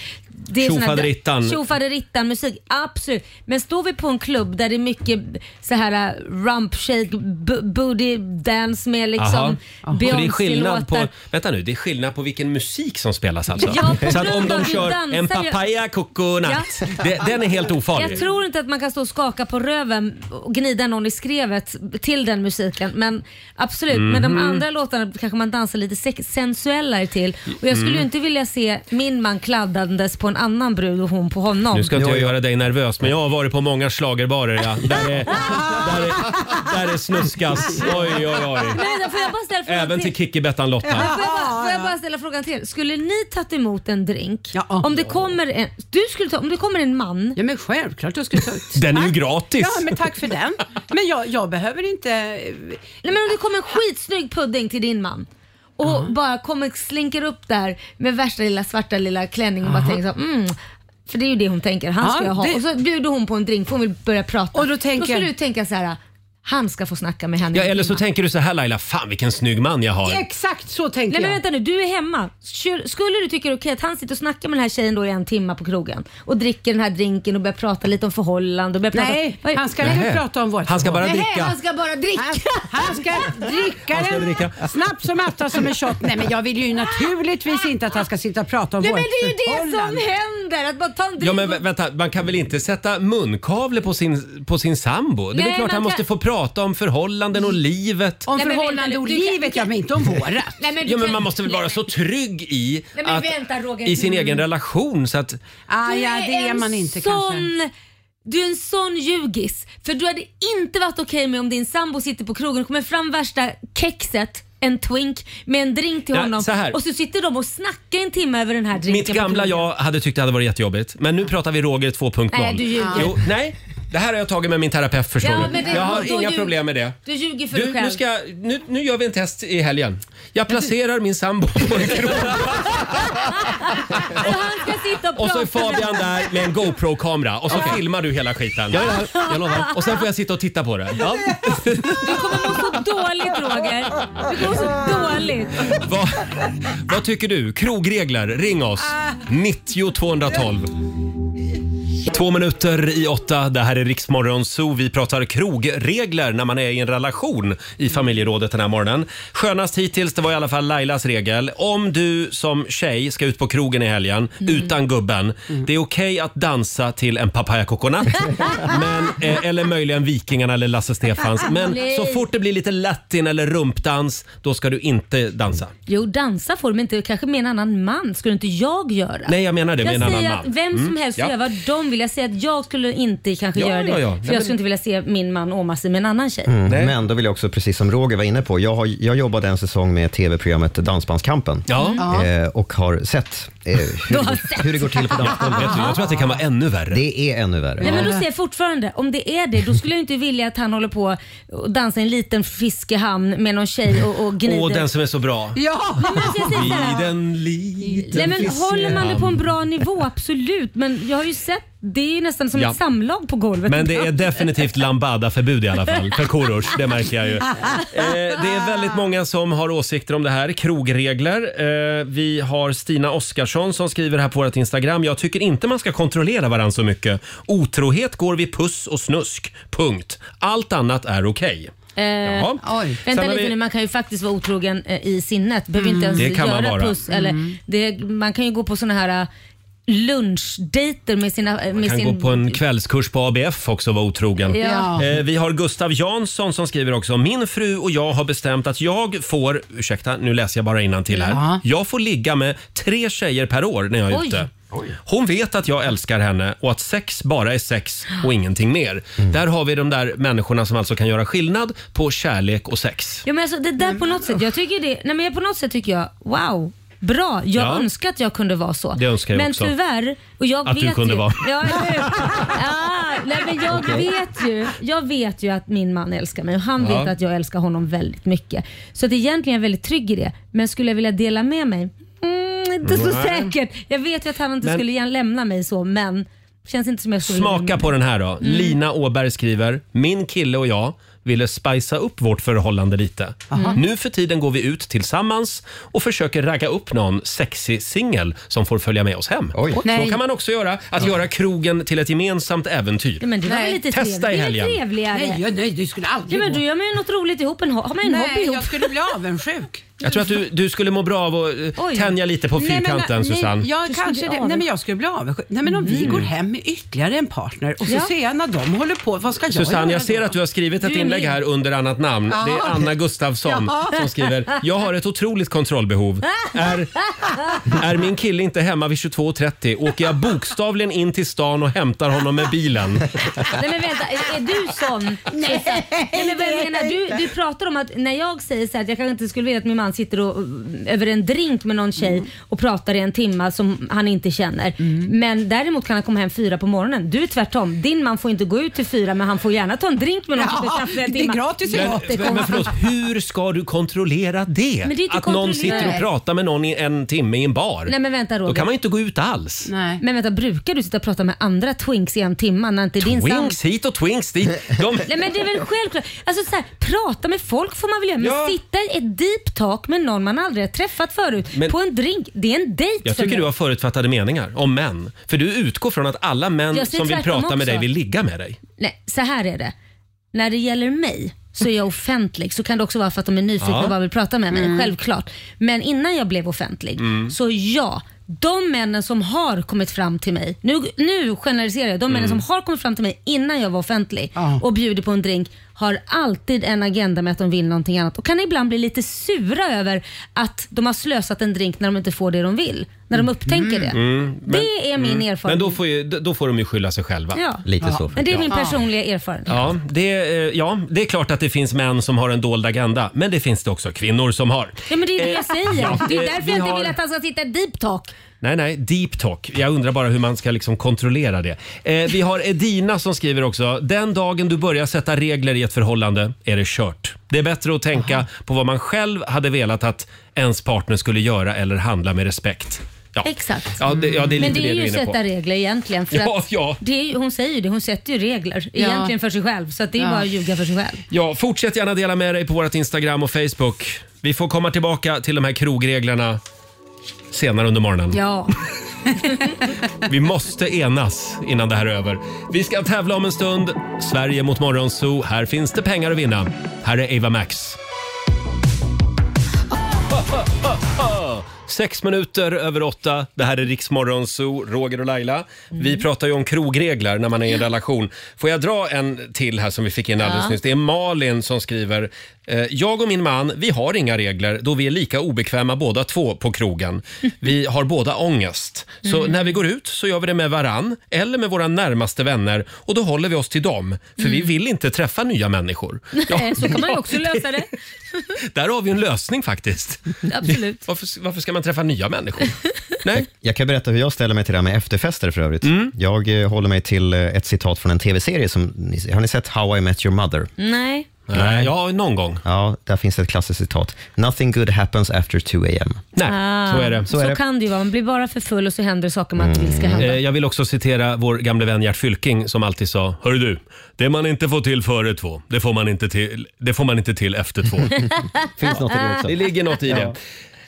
[SPEAKER 2] det är såna-
[SPEAKER 1] Tjofaderittan.
[SPEAKER 2] Tjofaderittan musik, absolut. Men står vi på en klubb där det är mycket så här äh, rump shake, bu- booty dance med liksom
[SPEAKER 1] Aha. Så det är skillnad på,
[SPEAKER 2] Beyoncé-låtar.
[SPEAKER 1] vänta nu, det är skillnad på vilken musik som spelas alltså?
[SPEAKER 2] Ja, på
[SPEAKER 1] så att om
[SPEAKER 2] grund av
[SPEAKER 1] de
[SPEAKER 2] hur
[SPEAKER 1] kör
[SPEAKER 2] dansar
[SPEAKER 1] en
[SPEAKER 2] jag-
[SPEAKER 1] papaya coconut,
[SPEAKER 2] Ja.
[SPEAKER 1] det, den är helt ofarlig.
[SPEAKER 2] Jag tror inte att man kan stå och skaka på röven och gnida någon i skrevet till den musiken. Men absolut, men de
[SPEAKER 1] Mhm.
[SPEAKER 2] andra låtarna kanske man dansar lite sex- sensuellare till. Och jag skulle ju
[SPEAKER 1] Mm.
[SPEAKER 2] inte vilja se min man kladdandes på en annan brud och hon på honom.
[SPEAKER 1] Nu ska inte jag göra dig nervös, men jag har varit på många schlagerbarer ja, där, det, där, det, där det snuskas. Oj, oj, oj.
[SPEAKER 2] Men får jag bara ställa frågan
[SPEAKER 1] Även till
[SPEAKER 2] till?
[SPEAKER 1] Kikki-Bettan
[SPEAKER 2] Får jag,
[SPEAKER 1] Lotta.
[SPEAKER 2] bara, får jag bara ställa frågan till er? Skulle ni tagit emot en drink? Om det kommer en, du skulle ta, om det kommer en man?
[SPEAKER 5] Ja men självklart jag skulle ta
[SPEAKER 1] Den är ju gratis.
[SPEAKER 5] Ja, men tack för den. Men jag, jag behöver inte... Nej,
[SPEAKER 2] men om det kommer en skitsnygg pudding till din man och bara kommer slinker upp där med värsta lilla svarta lilla klänning och bara
[SPEAKER 5] Aha.
[SPEAKER 2] tänker så, mm, för det är ju det hon tänker, han ska
[SPEAKER 5] Ja,
[SPEAKER 2] jag ha.
[SPEAKER 5] det-
[SPEAKER 2] Och så bjuder hon på en drink för hon vill börja prata. Och då,
[SPEAKER 5] tänker
[SPEAKER 2] skulle
[SPEAKER 5] jag-
[SPEAKER 2] du tänka så här, han ska få snacka med henne.
[SPEAKER 1] Ja, eller så tänker du så här Laila, fan vilken snygg man jag har.
[SPEAKER 2] Exakt så tänker Nej, men
[SPEAKER 5] jag.
[SPEAKER 2] Vänta nu, du är hemma. Kör- Skulle du tycka det är okej att han sitter och snackar med den här tjejen då i en timme på krogen och dricker den här drinken och börjar prata lite om förhållanden? och börjar prata-
[SPEAKER 5] Nej,
[SPEAKER 2] Vad-
[SPEAKER 5] han ska inte Nähä. prata om vårt
[SPEAKER 1] Han ska bara
[SPEAKER 2] förhållande.
[SPEAKER 1] dricka.
[SPEAKER 2] Nej, han ska bara dricka.
[SPEAKER 5] Han ska dricka
[SPEAKER 1] Han ska
[SPEAKER 5] den
[SPEAKER 1] dricka.
[SPEAKER 5] snabbt som attan som en shot. Nej men jag vill ju naturligtvis inte att han ska sitta och prata om
[SPEAKER 2] Nej
[SPEAKER 5] vårt
[SPEAKER 2] men det är ju det som
[SPEAKER 5] förhållande.
[SPEAKER 2] händer, att bara ta en drink
[SPEAKER 1] Ja
[SPEAKER 2] och
[SPEAKER 1] men vä- vänta, man kan väl inte sätta munkavle på sin, på sin sambo? Det är väl
[SPEAKER 2] Nej,
[SPEAKER 1] klart
[SPEAKER 2] man
[SPEAKER 1] han måste
[SPEAKER 2] kan- Mm.
[SPEAKER 1] få prata om förhållanden och livet.
[SPEAKER 5] Om
[SPEAKER 2] Nej, men
[SPEAKER 5] förhållande
[SPEAKER 2] vänta
[SPEAKER 5] och
[SPEAKER 2] nu, du kan-
[SPEAKER 5] livet, ja men inte om vårat.
[SPEAKER 2] Nej, men du
[SPEAKER 1] Ja men
[SPEAKER 2] kan-
[SPEAKER 1] man måste väl vara så trygg i,
[SPEAKER 2] Nej, men
[SPEAKER 1] att,
[SPEAKER 2] vänta, Roger.
[SPEAKER 1] i sin egen
[SPEAKER 2] Mm.
[SPEAKER 1] relation så att...
[SPEAKER 5] Ah,
[SPEAKER 2] Du
[SPEAKER 5] ja, det är
[SPEAKER 2] en
[SPEAKER 5] man inte
[SPEAKER 2] sån,
[SPEAKER 5] kanske.
[SPEAKER 2] Du är en sån ljugis. För du hade inte varit okej med om din sambo sitter på krogen och kommer fram värsta kexet, en twink, med en drink till
[SPEAKER 1] Ja,
[SPEAKER 2] honom.
[SPEAKER 1] så här.
[SPEAKER 2] Och så sitter de och snackar en timme över den här drinken.
[SPEAKER 1] Mitt
[SPEAKER 2] på
[SPEAKER 1] gamla
[SPEAKER 2] krogen.
[SPEAKER 1] jag hade tyckt det hade varit jättejobbigt. Men nu pratar vi Roger 2.0.
[SPEAKER 2] Nej, du ljuger.
[SPEAKER 1] Jo, nej, det här har jag tagit med min terapeut förstår
[SPEAKER 2] Ja,
[SPEAKER 1] du.
[SPEAKER 2] men det-
[SPEAKER 1] jag har
[SPEAKER 2] då
[SPEAKER 1] inga
[SPEAKER 2] ljug-
[SPEAKER 1] problem med det.
[SPEAKER 2] Du ljuger för
[SPEAKER 1] Du,
[SPEAKER 2] dig själv.
[SPEAKER 1] nu, ska, nu, nu gör vi en test i helgen. Jag placerar min sambo på en krog
[SPEAKER 2] Så Alltså, han ska sitta och
[SPEAKER 1] och så
[SPEAKER 2] prata
[SPEAKER 1] är Fabian
[SPEAKER 2] med-
[SPEAKER 1] där med en GoPro-kamera och så filmar du hela skiten.
[SPEAKER 2] Ja, ja, jag lovar.
[SPEAKER 1] Och sen får jag sitta och titta på det. Ja.
[SPEAKER 2] Du kommer må så dåligt Roger. Du kommer må så dåligt.
[SPEAKER 1] Vad, vad tycker du? Krogregler, ring oss.
[SPEAKER 2] Ah.
[SPEAKER 1] 90 212. Två minuter i åtta, det här är Riksmorgon Zoo. Vi pratar krogregler när man är i en relation i familjerådet den här morgonen. Skönast hittills, det var i alla fall Lailas regel. Om du som tjej ska ut på krogen i helgen
[SPEAKER 2] Mm.
[SPEAKER 1] utan gubben, det är okej att dansa till en papaya coconut. men, eh, eller möjligen Vikingarna eller Lasse Stefans Men
[SPEAKER 2] Nej.
[SPEAKER 1] så fort det blir lite latin eller rumpdans, då ska du inte dansa.
[SPEAKER 2] Jo, dansa får de inte. Kanske med en annan man. Skulle inte jag göra?
[SPEAKER 1] Nej, jag menar det, med
[SPEAKER 2] jag
[SPEAKER 1] en annan
[SPEAKER 2] säger
[SPEAKER 1] man.
[SPEAKER 2] att vem som
[SPEAKER 1] Mm,
[SPEAKER 2] helst
[SPEAKER 1] ja.
[SPEAKER 2] gör vad de vill. vilja säga att jag skulle inte kanske
[SPEAKER 7] Ja,
[SPEAKER 2] göra det.
[SPEAKER 7] ja, ja.
[SPEAKER 2] För
[SPEAKER 7] Nej,
[SPEAKER 2] jag
[SPEAKER 7] men-
[SPEAKER 2] skulle inte vilja se min man åma sig med en annan tjej.
[SPEAKER 7] Mm. Men då vill jag också, precis som Roger var inne på, jag, har, jag jobbade en säsong med tv-programmet Dansbandskampen
[SPEAKER 2] Ja.
[SPEAKER 7] Eh, och har sett eh, hur, hur det går till på dansgolvet.
[SPEAKER 2] Vet du, jag tror
[SPEAKER 1] att det kan vara ännu värre.
[SPEAKER 7] Det är ännu värre.
[SPEAKER 2] Nej men då säger jag fortfarande, om det är det, då skulle jag inte vilja att han håller på och dansar i en liten fiskehamn med någon tjej och, och gnider.
[SPEAKER 1] Åh, den som är så bra.
[SPEAKER 2] Ja! Nej, men alltså jag säger så här,
[SPEAKER 1] Vid en liten
[SPEAKER 2] Nej, men håller man det på en
[SPEAKER 1] fiskehamn.
[SPEAKER 2] bra nivå, absolut. Men jag har ju sett, det är ju nästan som
[SPEAKER 1] Ja.
[SPEAKER 2] ett samlag på golvet.
[SPEAKER 1] Men det är definitivt lambada-förbud i alla fall för Korosh, det märker jag ju. Eh, det är väldigt många som har åsikter om det här, krogregler. Eh, vi har Stina Oskarsson som skriver här på vårt Instagram. Jag tycker inte man ska kontrollera varandra så mycket. Otrohet går vid puss och snusk, punkt. Allt annat är okej.
[SPEAKER 2] Eh,
[SPEAKER 1] Jaha. Sen
[SPEAKER 2] Vänta
[SPEAKER 1] har
[SPEAKER 2] lite
[SPEAKER 1] vi- Mm.
[SPEAKER 2] nu, man kan ju faktiskt vara otrogen eh, i sinnet. Behöver inte ens
[SPEAKER 1] Det kan man
[SPEAKER 2] göra
[SPEAKER 1] vara.
[SPEAKER 2] puss. Eller, det, man kan ju gå på såna här eh, lunchdejter med sina... eh, Med
[SPEAKER 1] kan
[SPEAKER 2] sin,
[SPEAKER 1] gå på en kvällskurs på ABF också och vara otrogen.
[SPEAKER 2] Ja.
[SPEAKER 1] Eh, vi har Gustav Jansson som skriver också. Min fru och jag har bestämt att jag får, ursäkta nu läser jag bara till här.
[SPEAKER 11] Ja.
[SPEAKER 1] Jag får ligga med tre tjejer per år när jag är
[SPEAKER 11] Oj.
[SPEAKER 1] ute. Hon vet att jag älskar henne och att sex bara är sex och ingenting mer. Där har vi de där människorna som alltså kan göra skillnad på kärlek och sex.
[SPEAKER 2] Ja, men alltså, det
[SPEAKER 1] Mm.
[SPEAKER 2] där på något sätt, jag tycker det, nej, men jag- på något sätt tycker jag, wow. Bra, jag
[SPEAKER 1] Ja.
[SPEAKER 2] önskar att jag kunde vara så.
[SPEAKER 1] Det önskar jag
[SPEAKER 2] men
[SPEAKER 1] också.
[SPEAKER 2] tyvärr, och jag
[SPEAKER 1] Att
[SPEAKER 2] vet
[SPEAKER 1] du kunde
[SPEAKER 2] ju,
[SPEAKER 1] vara.
[SPEAKER 2] Ja, eller hur? ah, nej, men jag,
[SPEAKER 1] Okej.
[SPEAKER 2] vet ju, jag vet ju att min man älskar mig och han
[SPEAKER 1] Ja.
[SPEAKER 2] vet att jag älskar honom väldigt mycket. Så att egentligen är jag väldigt trygg i det. Men skulle jag vilja dela med mig? Mm, inte så
[SPEAKER 1] Nej.
[SPEAKER 2] säkert. Jag vet ju att han inte
[SPEAKER 1] Men-
[SPEAKER 2] skulle gärna lämna mig så, men känns inte som jag skulle vilja-
[SPEAKER 1] Smaka på den här då.
[SPEAKER 5] Mm.
[SPEAKER 1] Lina Åberg skriver, min kille och jag ville spicea upp vårt förhållande lite.
[SPEAKER 2] Aha.
[SPEAKER 5] Mm.
[SPEAKER 1] Nu för tiden går vi ut tillsammans och försöker ragga upp någon sexig singel som får följa med oss hem. Så
[SPEAKER 2] Nej.
[SPEAKER 1] kan man också göra, att göra krogen till ett gemensamt äventyr.
[SPEAKER 2] Ja, men det var väl lite
[SPEAKER 1] Testa i
[SPEAKER 2] trevligt.
[SPEAKER 1] helgen.
[SPEAKER 2] Det är väl trevligare.
[SPEAKER 5] Nej, jag, nej, du skulle aldrig
[SPEAKER 2] Ja, men
[SPEAKER 5] gå.
[SPEAKER 2] då gör man ju något roligt ihop. En, ho- har man en hobby
[SPEAKER 5] Nej,
[SPEAKER 2] ihop?
[SPEAKER 5] jag skulle bli avundsjuk.
[SPEAKER 1] Jag tror att du, du skulle må bra av att eh,
[SPEAKER 5] Oj.
[SPEAKER 1] tänja lite på
[SPEAKER 5] Nej, men,
[SPEAKER 1] fyrkanten
[SPEAKER 5] nej,
[SPEAKER 1] Susanne.
[SPEAKER 5] Jag
[SPEAKER 2] Du skulle
[SPEAKER 5] kanske
[SPEAKER 2] bli
[SPEAKER 5] det. Nej, men jag skulle bli avundsjuk. Nej, men om vi
[SPEAKER 1] Mm.
[SPEAKER 5] går hem med ytterligare en partner och så
[SPEAKER 1] Ja.
[SPEAKER 5] ser jag när de håller på, vad ska jag
[SPEAKER 1] Susanne,
[SPEAKER 5] göra
[SPEAKER 1] jag ser
[SPEAKER 5] då?
[SPEAKER 1] att du har skrivit ett
[SPEAKER 5] Du är
[SPEAKER 1] inlägg
[SPEAKER 5] min.
[SPEAKER 1] här under annat namn.
[SPEAKER 5] Ja.
[SPEAKER 1] Det är Anna Gustafsson
[SPEAKER 5] Ja.
[SPEAKER 1] som skriver. Jag har ett otroligt kontrollbehov. Är, är min kille inte hemma vid 22.30 åker jag bokstavligen in till stan och hämtar honom med bilen.
[SPEAKER 2] Nej men vänta, är är du sån?
[SPEAKER 10] Nej,
[SPEAKER 2] Susanne? Nej, men vad
[SPEAKER 10] det är
[SPEAKER 2] jag menar,
[SPEAKER 10] jag
[SPEAKER 2] du,
[SPEAKER 10] inte.
[SPEAKER 2] du pratar om att när jag säger så här, att jag kanske inte skulle vilja att min man sitter och, eh, över en drink med någon tjej
[SPEAKER 5] Mm.
[SPEAKER 2] och pratar i en timma som han inte känner. Men däremot kan han komma hem fyra på morgonen. Du är tvärtom. Din man får inte gå ut till fyra men han får gärna ta en drink med någon som
[SPEAKER 5] Ja,
[SPEAKER 2] sitter kaffe i en
[SPEAKER 5] det är
[SPEAKER 2] timma.
[SPEAKER 5] gratis
[SPEAKER 1] Men,
[SPEAKER 2] Jättekonstigt.
[SPEAKER 1] men, men förlåt, hur ska du kontrollera det?
[SPEAKER 2] Men det är inte
[SPEAKER 1] att någon sitter och
[SPEAKER 2] kontrollerat.
[SPEAKER 1] pratar med någon i en timme i en bar.
[SPEAKER 2] Nej men vänta Roger.
[SPEAKER 1] Då kan man ju inte gå ut alls.
[SPEAKER 2] Nej. Men vänta, brukar du sitta och prata med andra twinks i en timme när inte din sam-
[SPEAKER 1] Twinks hit och twinks dit. De,
[SPEAKER 2] Nej men det är väl självklart. Alltså så här, prata med folk får man väl göra, men
[SPEAKER 1] Ja.
[SPEAKER 2] sitta i ett deep talk med någon man aldrig har träffat förut
[SPEAKER 1] Men-
[SPEAKER 2] på en drink, det är en dejt
[SPEAKER 1] Jag
[SPEAKER 2] för
[SPEAKER 1] tycker
[SPEAKER 2] mig.
[SPEAKER 1] du har förutfattade meningar om män. För du utgår från att alla män
[SPEAKER 2] Jag säger
[SPEAKER 1] som vill prata
[SPEAKER 2] tvärtom
[SPEAKER 1] med
[SPEAKER 2] också.
[SPEAKER 1] dig vill ligga med dig.
[SPEAKER 2] Nej, så här är det. När det gäller mig så är jag offentlig. Så kan det också vara för att de är nyfikna
[SPEAKER 1] Ja.
[SPEAKER 2] och bara vill prata med mig,
[SPEAKER 1] Mm.
[SPEAKER 2] självklart. Men innan jag blev offentlig,
[SPEAKER 1] Mm.
[SPEAKER 2] så ja, de männen som har kommit fram till mig, nu, nu generaliserar jag, de männen
[SPEAKER 10] Mm.
[SPEAKER 2] som har kommit fram till mig innan jag var offentlig
[SPEAKER 1] Ah.
[SPEAKER 2] och bjuder på en drink har alltid en agenda med att de vill någonting annat och kan ibland bli lite sura över att de har slösat en drink när de inte får det de vill. När de upptänker det.
[SPEAKER 1] Mm, men-
[SPEAKER 2] Det är min
[SPEAKER 1] mm.
[SPEAKER 2] erfarenhet.
[SPEAKER 1] Men då får, ju, då får de ju skylla sig själva.
[SPEAKER 2] Ja. Men det är min personliga erfarenhet.
[SPEAKER 1] Ja det, eh, ja, det är klart att det finns män som har en dold agenda, men det finns det också kvinnor som har.
[SPEAKER 2] Ja, men det är det
[SPEAKER 1] Eh,
[SPEAKER 2] jag säger.
[SPEAKER 1] ja,
[SPEAKER 2] det är
[SPEAKER 1] eh,
[SPEAKER 2] därför
[SPEAKER 1] vi
[SPEAKER 2] jag inte
[SPEAKER 1] har-
[SPEAKER 2] vill att han ska sitta i deep talk.
[SPEAKER 1] Nej, nej, deep talk. Jag undrar bara hur man ska liksom kontrollera det. Eh, vi har Edina som skriver också. Den dagen du börjar sätta regler i ett förhållande är det kört. Det är bättre att tänka på vad man själv hade velat att ens partner skulle göra eller handla med respekt. Ja.
[SPEAKER 2] Exakt.
[SPEAKER 1] Ja, det, ja, det är lite
[SPEAKER 2] Men det är
[SPEAKER 1] du
[SPEAKER 2] ju
[SPEAKER 1] är inne
[SPEAKER 2] sätta
[SPEAKER 1] på.
[SPEAKER 2] regler egentligen. För
[SPEAKER 1] Ja,
[SPEAKER 2] att
[SPEAKER 1] ja.
[SPEAKER 2] Det är, ju- hon säger ju det, hon sätter ju regler
[SPEAKER 5] Ja.
[SPEAKER 2] egentligen för sig själv. Så att det är
[SPEAKER 5] Ja.
[SPEAKER 2] bara att ljuga för sig själv.
[SPEAKER 1] Ja, fortsätt gärna dela med dig på vårt Instagram och Facebook. Vi får komma tillbaka till de här krogreglerna senare under morgonen.
[SPEAKER 2] Ja.
[SPEAKER 1] Vi måste enas innan det här är över. Vi ska tävla om en stund. Sverige mot Morgonzoo. Här finns det pengar att vinna. Här är Eva Max. Sex minuter över åtta. Det här är Riksmorgon Zoo, Roger och Laila.
[SPEAKER 2] Mm.
[SPEAKER 1] Vi pratar ju om krogregler när man är i en relation. Får jag dra en till här som vi fick in alldeles
[SPEAKER 13] Ja.
[SPEAKER 1] nyss? Det är Malin som skriver. eh, Jag och min man, vi har inga regler då vi är lika obekväma båda två på krogen. Vi har båda ångest. Så
[SPEAKER 13] Mm.
[SPEAKER 1] när vi går ut så gör vi det med varann eller med våra närmaste vänner och då håller vi oss till dem. För vi
[SPEAKER 2] Mm.
[SPEAKER 1] vill inte träffa nya människor.
[SPEAKER 2] Nej, Eh, så kan man ju
[SPEAKER 1] ja,
[SPEAKER 2] också lösa det.
[SPEAKER 1] Där har vi en lösning faktiskt.
[SPEAKER 2] Absolut.
[SPEAKER 1] Varför, varför ska man träffa nya människor?
[SPEAKER 7] Jag kan berätta hur jag ställer mig till det här med efterfester för övrigt. Jag eh, håller mig till eh, ett citat från en tv-serie. Som, ni- har ni sett How I Met Your Mother?
[SPEAKER 2] Nej.
[SPEAKER 1] Ja, någon gång.
[SPEAKER 7] Ja, där finns ett klassiskt citat. Nothing good happens after 2 a.m.
[SPEAKER 2] Ah,
[SPEAKER 7] Så
[SPEAKER 2] Så,
[SPEAKER 7] är det.
[SPEAKER 2] kan det ju vara. Man blir bara för full och så händer saker man inte vill ska hända.
[SPEAKER 1] Eh, Jag vill också citera vår gamle vän Gert Fylking som alltid sa Hörru du, det man inte får till före två, det får man inte till, det får man inte till efter två.
[SPEAKER 7] Finns något i det också.
[SPEAKER 1] Det ligger något i det.
[SPEAKER 7] Ja.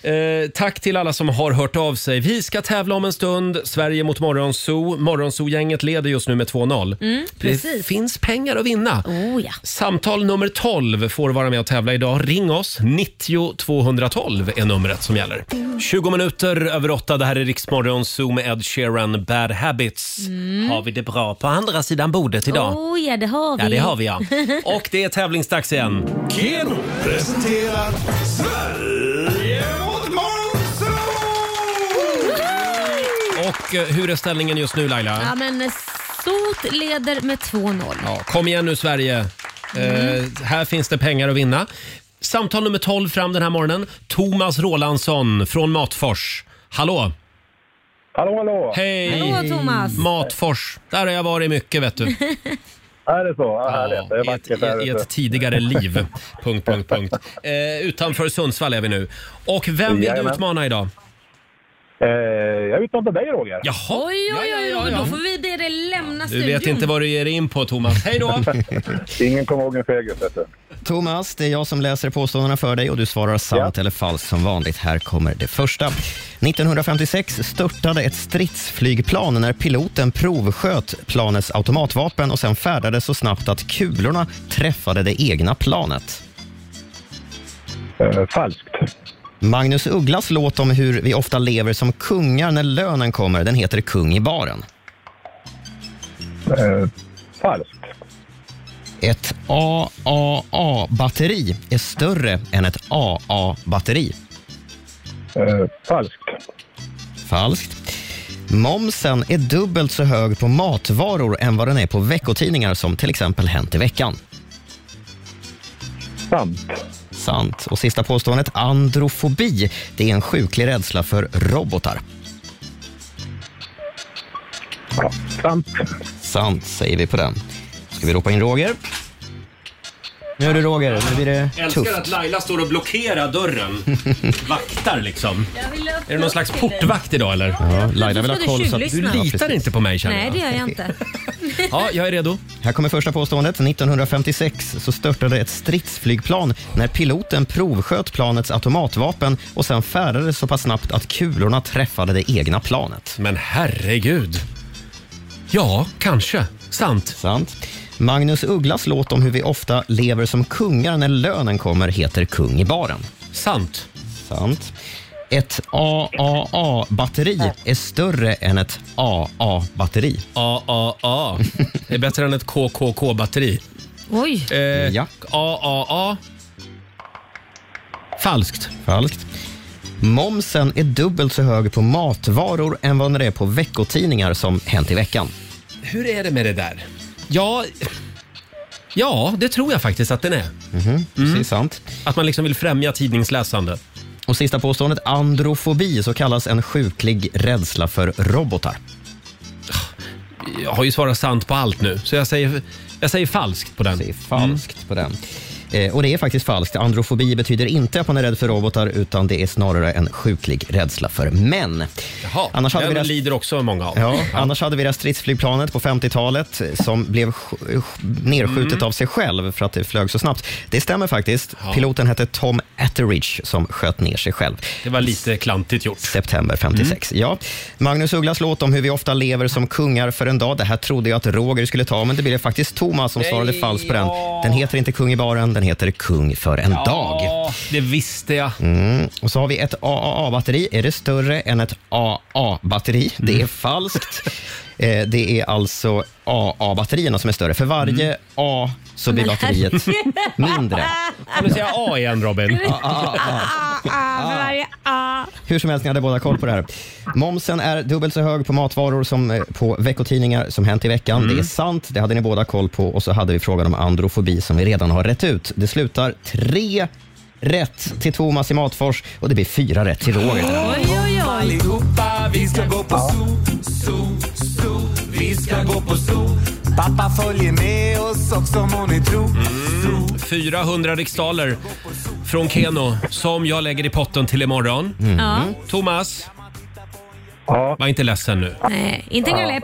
[SPEAKER 1] Eh, tack till alla som har hört av sig. Vi ska tävla om en stund. Sverige mot Morgonzoo. Morgonzoo-gänget leder just nu med 2-0.
[SPEAKER 13] Mm,
[SPEAKER 1] det
[SPEAKER 13] precis.
[SPEAKER 1] finns pengar att vinna.
[SPEAKER 2] Oh,
[SPEAKER 1] Samtal nummer 12 får vara med och tävla idag. Ring oss. 90 212 är numret som gäller. 20 minuter över 8. Det här är Riksmorgonzoo med Ed Sheeran, Bad Habits.
[SPEAKER 2] Mm.
[SPEAKER 1] Har vi det bra på andra sidan bordet idag?
[SPEAKER 2] Oh, ja, det har vi.
[SPEAKER 1] Ja, det har vi ja. Och det är tävlingsdags igen.
[SPEAKER 12] Keno presenterar Sverige mot
[SPEAKER 1] Och eh, hur är ställningen just nu Laila?
[SPEAKER 2] Ja, men eh, Sot leder med 2-0.
[SPEAKER 1] Ja, kom igen nu Sverige.
[SPEAKER 2] Mm.
[SPEAKER 1] Eh, här finns det pengar att vinna. Samtal nummer 12 fram den här morgonen. Thomas Rolandsson från Matfors. Hallå!
[SPEAKER 14] Hallå, hallå!
[SPEAKER 1] Hej!
[SPEAKER 2] Hallå, Thomas.
[SPEAKER 1] Matfors. Där har jag varit mycket vet du.
[SPEAKER 14] Är det så? Ja, härligt. Det är
[SPEAKER 1] I
[SPEAKER 14] vackert
[SPEAKER 1] ett,
[SPEAKER 14] där
[SPEAKER 1] i, I
[SPEAKER 14] ute.
[SPEAKER 1] ett tidigare liv. punkt, punkt, punkt. Eh, utanför Sundsvall är vi nu. Och vem vill du
[SPEAKER 14] Jajamän.
[SPEAKER 1] utmana idag?
[SPEAKER 14] Eh, jag utmanar dig Roger.
[SPEAKER 1] Jaha!
[SPEAKER 2] Oj, oj, oj, oj, då får vi be dig lämna
[SPEAKER 1] Du
[SPEAKER 2] studion.
[SPEAKER 1] vet inte vad du ger dig in på Thomas. Hej då!
[SPEAKER 14] Ingen kommer ihåg en fegis, vet du.
[SPEAKER 7] Thomas, det är jag som läser påståendena för dig och du svarar sant eller falskt som vanligt. Här kommer det första. 1956 störtade ett stridsflygplan när piloten provsköt planets automatvapen och sen färdades så snabbt att kulorna träffade det egna planet.
[SPEAKER 14] Eh, falskt.
[SPEAKER 7] Magnus Ugglas låt om hur vi ofta lever som kungar när lönen kommer, den heter Kung i baren.
[SPEAKER 14] Eh, falskt.
[SPEAKER 7] Ett AAA-batteri är större än ett AA-batteri.
[SPEAKER 14] Eh, falskt.
[SPEAKER 7] Falskt. Momsen är dubbelt så hög på matvaror än vad den är på veckotidningar som till exempel Hänt i veckan.
[SPEAKER 14] Sant.
[SPEAKER 7] Sant. Och sista påståendet, androfobi. Det är en sjuklig rädsla för robotar.
[SPEAKER 14] sant.
[SPEAKER 7] Sant säger vi på den. Ska vi ropa in Roger? Nu är det Roger. Nu blir det
[SPEAKER 1] Älskar
[SPEAKER 7] tufft.
[SPEAKER 1] att Laila står och blockerar dörren. Vaktar liksom. Är det någon slags
[SPEAKER 2] till dig.
[SPEAKER 1] portvakt idag eller? Ja,
[SPEAKER 7] Laila vill ha koll så att-
[SPEAKER 1] Du
[SPEAKER 7] Ja,
[SPEAKER 1] litar
[SPEAKER 7] precis.
[SPEAKER 1] inte på mig känner
[SPEAKER 2] Nej,
[SPEAKER 1] jag.
[SPEAKER 2] det gör jag inte.
[SPEAKER 1] Ja, jag är redo.
[SPEAKER 7] Här kommer första påståendet. 1956 så störtade ett stridsflygplan när piloten provsköt planets automatvapen och sen färdades så pass snabbt att kulorna träffade det egna planet.
[SPEAKER 1] Men herregud. Ja, kanske. Sant.
[SPEAKER 7] Sant. Magnus Ugglas låt om hur vi ofta lever som kungar när lönen kommer heter Kung i baren.
[SPEAKER 1] Sant.
[SPEAKER 7] Sant. Ett AAA-batteri är större än ett AA-batteri.
[SPEAKER 1] AAA. Det är bättre än ett KKK-batteri.
[SPEAKER 2] Oj.
[SPEAKER 1] Eh,
[SPEAKER 7] Ja.
[SPEAKER 1] AAA. Falskt.
[SPEAKER 7] Falskt. Momsen är dubbelt så hög på matvaror än vad den är på veckotidningar som Hänt i veckan.
[SPEAKER 1] Hur är det med det där? Ja, ja det tror jag faktiskt att den är.
[SPEAKER 7] Mhm, Precis sant.
[SPEAKER 1] Att man liksom vill främja tidningsläsande.
[SPEAKER 7] Och sista påståendet, androfobi, så kallas en sjuklig rädsla för robotar.
[SPEAKER 1] Jag har ju svarat sant på allt nu, så jag säger, jag säger falskt på den.
[SPEAKER 7] falskt på den. Eh, och det är faktiskt falskt. Androfobi betyder inte att man är rädd för robotar, utan det är snarare en sjuklig rädsla för män.
[SPEAKER 1] Jaha,
[SPEAKER 7] Annars hade
[SPEAKER 1] den
[SPEAKER 7] vi rest-
[SPEAKER 1] lider också många av.
[SPEAKER 7] Ja, annars hade vi det här stridsflygplanet på 50-talet eh, som blev sk- nerskjutet
[SPEAKER 1] Mm.
[SPEAKER 7] av sig själv för att det flög så snabbt. Det stämmer faktiskt. Piloten hette Tom Atteridge som sköt ner sig själv.
[SPEAKER 1] Det var lite klantigt gjort.
[SPEAKER 7] September 56. Ja. Magnus Ugglas låt om hur vi ofta lever som kungar för en dag. Det här trodde jag att Roger skulle ta, men det blev faktiskt Thomas som svarade falskt på den. Den heter inte Kung i baren, den Den heter Kung för en dag.
[SPEAKER 1] det visste jag.
[SPEAKER 7] Mm. Och så har vi ett AAA-batteri. Är det större än ett AA-batteri? Det är falskt. Eh, Det är alltså AA-batterierna som är större. För varje A så blir batteriet mindre.
[SPEAKER 1] Kan du säga A igen Robin?
[SPEAKER 7] Ja, ja, ja.
[SPEAKER 2] Ah, för varje ah.
[SPEAKER 7] Hur som helst, ni hade båda koll på det här. Momsen är dubbelt så hög på matvaror som eh, på veckotidningar som hänt i veckan. Det är sant, det hade ni båda koll på. Och så hade vi frågan om androfobi som vi redan har rätt ut. Det slutar tre rätt till Thomas i Matfors och det blir fyra rätt till Roger.
[SPEAKER 12] Allihopa, vi ska gå på zoo, zoo, zoo. Vi ska gå på zoo. Pappa följer med oss också må ni tro.
[SPEAKER 1] 400 riksdaler från Keno som jag lägger i potten till imorgon.
[SPEAKER 12] Mm. Ja.
[SPEAKER 1] Thomas? Var inte ledsen nu.
[SPEAKER 2] Nej, inte en läpp.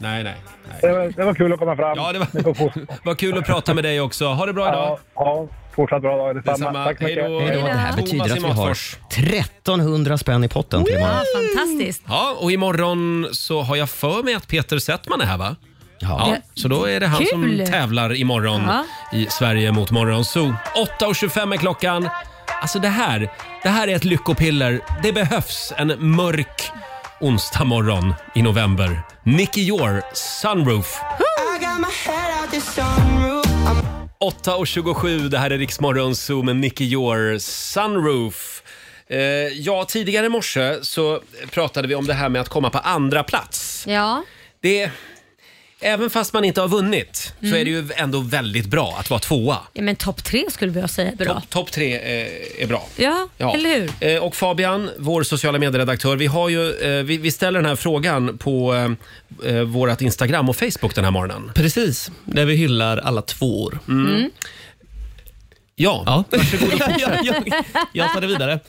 [SPEAKER 1] Nej, nej.
[SPEAKER 14] Det var, det var kul att komma fram.
[SPEAKER 1] Ja, det var... Vad kul att prata med dig också. Ha det bra idag.
[SPEAKER 14] Ja, fortsatt bra dag. Detsamma.
[SPEAKER 1] Detsamma.
[SPEAKER 14] Tack så mycket.
[SPEAKER 1] Hej då. Hej då.
[SPEAKER 7] Det här
[SPEAKER 1] Thomas
[SPEAKER 7] betyder
[SPEAKER 1] i
[SPEAKER 7] att vi har
[SPEAKER 1] Matfors.
[SPEAKER 7] 1300 spänn i potten till imorgon.
[SPEAKER 2] Ja, fantastiskt.
[SPEAKER 1] Ja, och imorgon så har jag för mig att Peter Settman är här va? Ja. Så då är det han
[SPEAKER 2] Kul.
[SPEAKER 1] som tävlar imorgon
[SPEAKER 2] Ja.
[SPEAKER 1] i Sverige mot Morgonzoo. 8.25 är klockan. Alltså det här, det här är ett lyckopiller. Det behövs en mörk onsdag morgon i november. Nicky Jor, Sunroof. 8.27, det här är Riksmorgon Zoo med Nicky Jor, Sunroof. Eh, ja, tidigare i morse så pratade vi om det här med att komma på andra plats.
[SPEAKER 2] Ja.
[SPEAKER 1] Det, även fast man inte har vunnit så
[SPEAKER 2] Mm.
[SPEAKER 1] är det ju ändå väldigt bra att vara tvåa.
[SPEAKER 2] ja, men topp tre skulle vi säga är bra.
[SPEAKER 1] Topp top tre eh, är bra.
[SPEAKER 2] Ja, eller hur?
[SPEAKER 1] Eh, Och Fabian, vår sociala medieredaktör, vi, har ju, eh, vi, vi ställer den här frågan på eh, eh, vårt Instagram och Facebook den här morgonen.
[SPEAKER 11] Precis, där vi hyllar alla tvåor.
[SPEAKER 1] Mm. Ja,
[SPEAKER 11] varsågod. jag, jag, jag tar det vidare.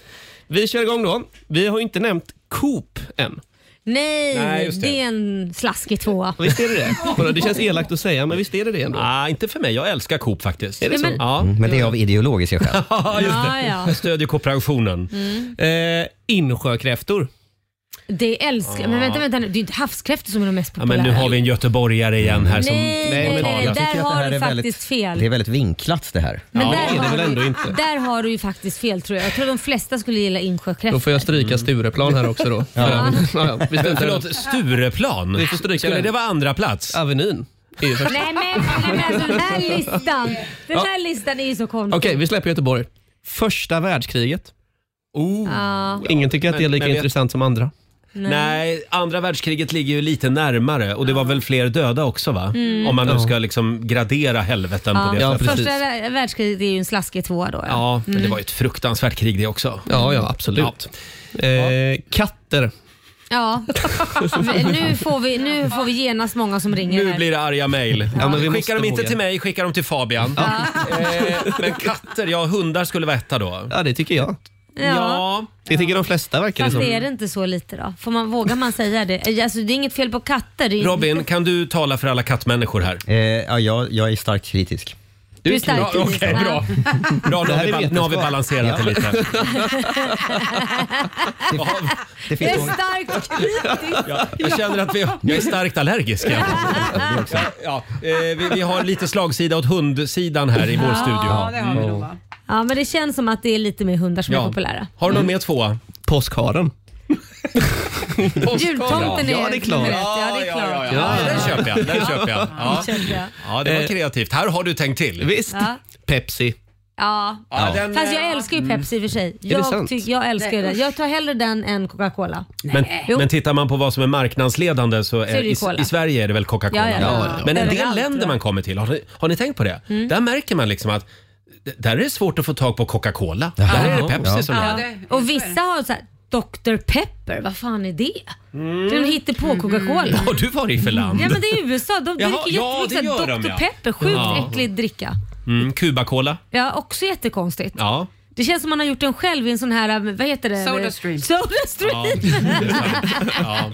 [SPEAKER 11] Vi kör igång då. Vi har ju inte nämnt Coop än.
[SPEAKER 2] Nej,
[SPEAKER 11] Nej,
[SPEAKER 2] det.
[SPEAKER 11] just
[SPEAKER 2] är en slaskig tvåa.
[SPEAKER 11] Och Visst är det det? Kolla, Det känns elakt att säga, men visst är det det ändå?
[SPEAKER 1] Nej, inte för mig. Jag älskar Coop faktiskt.
[SPEAKER 11] Är det
[SPEAKER 2] Ja,
[SPEAKER 11] så?
[SPEAKER 2] men-
[SPEAKER 1] Ja.
[SPEAKER 7] Men det är av ideologiska skäl.
[SPEAKER 1] Ja, just
[SPEAKER 2] Ja,
[SPEAKER 1] det.
[SPEAKER 2] ja.
[SPEAKER 1] Jag stödjer kooperationen.
[SPEAKER 2] Mm.
[SPEAKER 11] Eh, insjökräftor.
[SPEAKER 2] Det älskar Men vänta, vänta nu. Det är inte havskräftor som är de mest
[SPEAKER 1] Ja,
[SPEAKER 2] populära.
[SPEAKER 1] men nu har vi en göteborgare igen här som
[SPEAKER 2] Nej, nej, nej,
[SPEAKER 1] talar.
[SPEAKER 2] där Jag tycker att det här har du är faktiskt väldigt- fel. det är
[SPEAKER 7] väldigt vinklat det här.
[SPEAKER 2] Men där, har du, där har du ju faktiskt fel tror jag. Jag tror de flesta skulle gilla
[SPEAKER 11] Då
[SPEAKER 2] insjökräftor.
[SPEAKER 11] får jag stryka Stureplan här också då.
[SPEAKER 1] Ja.
[SPEAKER 11] Mm. ja, vi struntar i det.
[SPEAKER 1] Förlåt, Stureplan?
[SPEAKER 11] Vi får stryka
[SPEAKER 1] Skulle
[SPEAKER 11] den.
[SPEAKER 1] det vara andra plats?
[SPEAKER 11] Avenyn.
[SPEAKER 2] Nej men, nej, men alltså, den här listan. Den
[SPEAKER 11] Ja.
[SPEAKER 2] här listan är ju så konstig.
[SPEAKER 11] Okej, vi släpper Göteborg. Första världskriget.
[SPEAKER 2] Ja.
[SPEAKER 11] Ingen tycker att det är
[SPEAKER 1] Oh. Men-
[SPEAKER 11] lika
[SPEAKER 1] men vet-
[SPEAKER 11] intressant som andra.
[SPEAKER 2] Nej.
[SPEAKER 1] Nej, andra världskriget ligger ju lite närmare och det var väl fler döda också va?
[SPEAKER 2] Mm.
[SPEAKER 1] Om man nu
[SPEAKER 11] Ja.
[SPEAKER 1] ska liksom gradera helveten på
[SPEAKER 2] Ja.
[SPEAKER 1] det sättet.
[SPEAKER 2] Första vär- världskriget är ju en slaskig tvåa då.
[SPEAKER 1] Ja, men det
[SPEAKER 2] Mm.
[SPEAKER 1] var ju ett fruktansvärt krig det också.
[SPEAKER 11] Ja, ja, absolut. Eh, katter.
[SPEAKER 2] Ja. Men nu, får vi, nu får vi genast många som ringer
[SPEAKER 1] Nu
[SPEAKER 2] här.
[SPEAKER 1] blir det arga mejl.
[SPEAKER 11] Ja, men vi måste
[SPEAKER 1] skicka dem inte
[SPEAKER 11] våga.
[SPEAKER 1] till mig, skicka dem till Fabian. Eh, men katter, ja hundar skulle vara etta då.
[SPEAKER 11] Ja, det tycker jag.
[SPEAKER 2] Ja.
[SPEAKER 11] Det tycker de flesta verkar det
[SPEAKER 2] Fast är
[SPEAKER 11] som.
[SPEAKER 2] det inte så lite då? Får man, vågar man säga det? Alltså, det är inget fel på katter. Det är
[SPEAKER 1] Robin, kan du tala för alla kattmänniskor här?
[SPEAKER 7] Eh, ja, jag, jag är starkt kritisk.
[SPEAKER 2] Du är stark
[SPEAKER 1] Bra,
[SPEAKER 2] i
[SPEAKER 1] Okej,
[SPEAKER 2] det.
[SPEAKER 1] bra. bra nu,
[SPEAKER 7] Det
[SPEAKER 1] har
[SPEAKER 7] här
[SPEAKER 1] vi,
[SPEAKER 7] är
[SPEAKER 1] ba- nu har vi
[SPEAKER 7] vetenskap.
[SPEAKER 1] balanserat det
[SPEAKER 7] Ja.
[SPEAKER 1] lite.
[SPEAKER 7] Det
[SPEAKER 2] Jag
[SPEAKER 7] finns
[SPEAKER 2] är
[SPEAKER 7] nog-
[SPEAKER 2] starkt kritisk.
[SPEAKER 1] Ja, jag känner att vi, jag är starkt allergisk. Ja. Ja, eh, vi, vi har lite slagsida åt hundsidan här i vår
[SPEAKER 2] Ja,
[SPEAKER 1] studio.
[SPEAKER 2] det har vi nog, va? Ja, men det känns som att det är lite mer hundar som är populära. Mm.
[SPEAKER 1] Har du någon mer tvåa?
[SPEAKER 11] Påskharen.
[SPEAKER 2] Jultomten är
[SPEAKER 11] Ja, det är klart.
[SPEAKER 2] nummer ett. Ja, det är klart.
[SPEAKER 1] Ja, den köper jag. Den köper jag. Ja.
[SPEAKER 2] Den köper jag. Eh,
[SPEAKER 1] ja, det var kreativt. Här har du tänkt till.
[SPEAKER 11] Visst.
[SPEAKER 2] Ja.
[SPEAKER 11] Pepsi.
[SPEAKER 2] Ja.
[SPEAKER 1] Ja, den,
[SPEAKER 2] Fast jag älskar ju Pepsi i och för sig.
[SPEAKER 11] det
[SPEAKER 2] Jag,
[SPEAKER 11] sant?
[SPEAKER 2] tyck, jag älskar ju
[SPEAKER 11] Nej,
[SPEAKER 2] den. Jag tar hellre den än Coca-Cola.
[SPEAKER 1] eh, Men,
[SPEAKER 2] Jo.
[SPEAKER 1] men tittar man på vad som är marknadsledande så
[SPEAKER 2] Så är
[SPEAKER 1] är,
[SPEAKER 2] det ju
[SPEAKER 1] i,
[SPEAKER 2] cola.
[SPEAKER 1] i Sverige är det väl Coca-Cola.
[SPEAKER 2] Ja, ja, ja.
[SPEAKER 1] Men en del
[SPEAKER 2] Överallt,
[SPEAKER 1] länder
[SPEAKER 2] ja.
[SPEAKER 1] man kommer till, har ni, har ni tänkt på det?
[SPEAKER 2] Mm.
[SPEAKER 1] Där märker man liksom att d- där är det svårt att få tag på Coca-Cola. Där är det Pepsi som
[SPEAKER 2] Ja.
[SPEAKER 1] gäller.
[SPEAKER 2] Och vissa har så här, Dr Pepper, vad fan är det? Mm. Den hittar på Coca-Cola.
[SPEAKER 1] Vad har du varit för land?
[SPEAKER 2] Ja men det är USA, de
[SPEAKER 1] Jaha,
[SPEAKER 2] dricker
[SPEAKER 1] ja,
[SPEAKER 2] jättemycket
[SPEAKER 1] det
[SPEAKER 2] så
[SPEAKER 1] gör
[SPEAKER 2] här
[SPEAKER 1] de,
[SPEAKER 2] Dr
[SPEAKER 1] ja.
[SPEAKER 2] Pepper, sjukt
[SPEAKER 1] Ja.
[SPEAKER 2] äcklig dricka.
[SPEAKER 1] Mm, Cuba-cola.
[SPEAKER 2] Ja, också jättekonstigt.
[SPEAKER 1] Ja.
[SPEAKER 2] Det känns som man har gjort den själv i en sån här, äh, vad heter det?
[SPEAKER 5] Soda Stream.
[SPEAKER 2] Soda Stream.
[SPEAKER 1] Ja, det är sant. ja.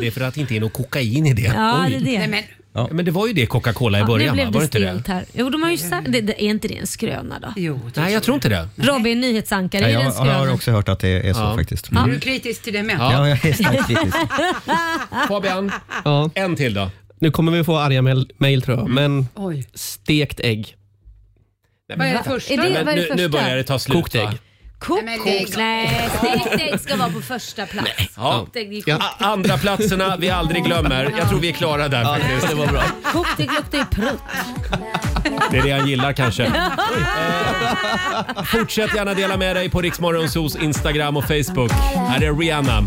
[SPEAKER 1] Det är för att det inte är något kokain i det.
[SPEAKER 2] Ja,
[SPEAKER 1] Oj.
[SPEAKER 2] det är det. Nej, men,
[SPEAKER 1] Ja. Men det var ju det Coca-Cola i
[SPEAKER 2] nu
[SPEAKER 1] början, va?
[SPEAKER 2] blev
[SPEAKER 1] Var det
[SPEAKER 2] det
[SPEAKER 1] inte det?
[SPEAKER 2] stelt här. Jo, de har ju sagt, det, det, är inte det en skröna då?
[SPEAKER 5] Jo.
[SPEAKER 1] Nej, jag tror inte det.
[SPEAKER 2] Robin, nyhetsankare,
[SPEAKER 7] Ja,
[SPEAKER 2] är
[SPEAKER 7] jag,
[SPEAKER 2] det en
[SPEAKER 7] jag har
[SPEAKER 2] skröna?
[SPEAKER 7] också hört att det är så faktiskt. Mm.
[SPEAKER 5] Är du kritisk till det med?
[SPEAKER 7] Ja, jag är starkt kritisk.
[SPEAKER 1] Fabian,
[SPEAKER 11] Ja.
[SPEAKER 1] en till då.
[SPEAKER 11] Nu kommer vi få arga mejl- mejl tror jag, men
[SPEAKER 5] Oj.
[SPEAKER 11] stekt ägg. Nej,
[SPEAKER 2] Vad är
[SPEAKER 11] men-
[SPEAKER 2] det första? Är det-
[SPEAKER 11] Men
[SPEAKER 2] vad är det
[SPEAKER 11] nu, nu
[SPEAKER 2] första?
[SPEAKER 11] börjar det ta slut Kokt ägg.
[SPEAKER 2] Kokt ägg? Nej, stekt ägg ska vara på första plats.
[SPEAKER 1] Ja.
[SPEAKER 2] Kokt ägg är
[SPEAKER 1] Ja.
[SPEAKER 2] kokt.
[SPEAKER 1] A- Andra platserna vi aldrig glömmer. Jag tror vi är klara där faktiskt.
[SPEAKER 11] det var bra.
[SPEAKER 2] Kokt ägg luktar ju prutt.
[SPEAKER 1] Det är det han gillar kanske. Eh, Fortsätt gärna dela med dig på Riksmorgonsos Instagram och Facebook. Här är Rihanna.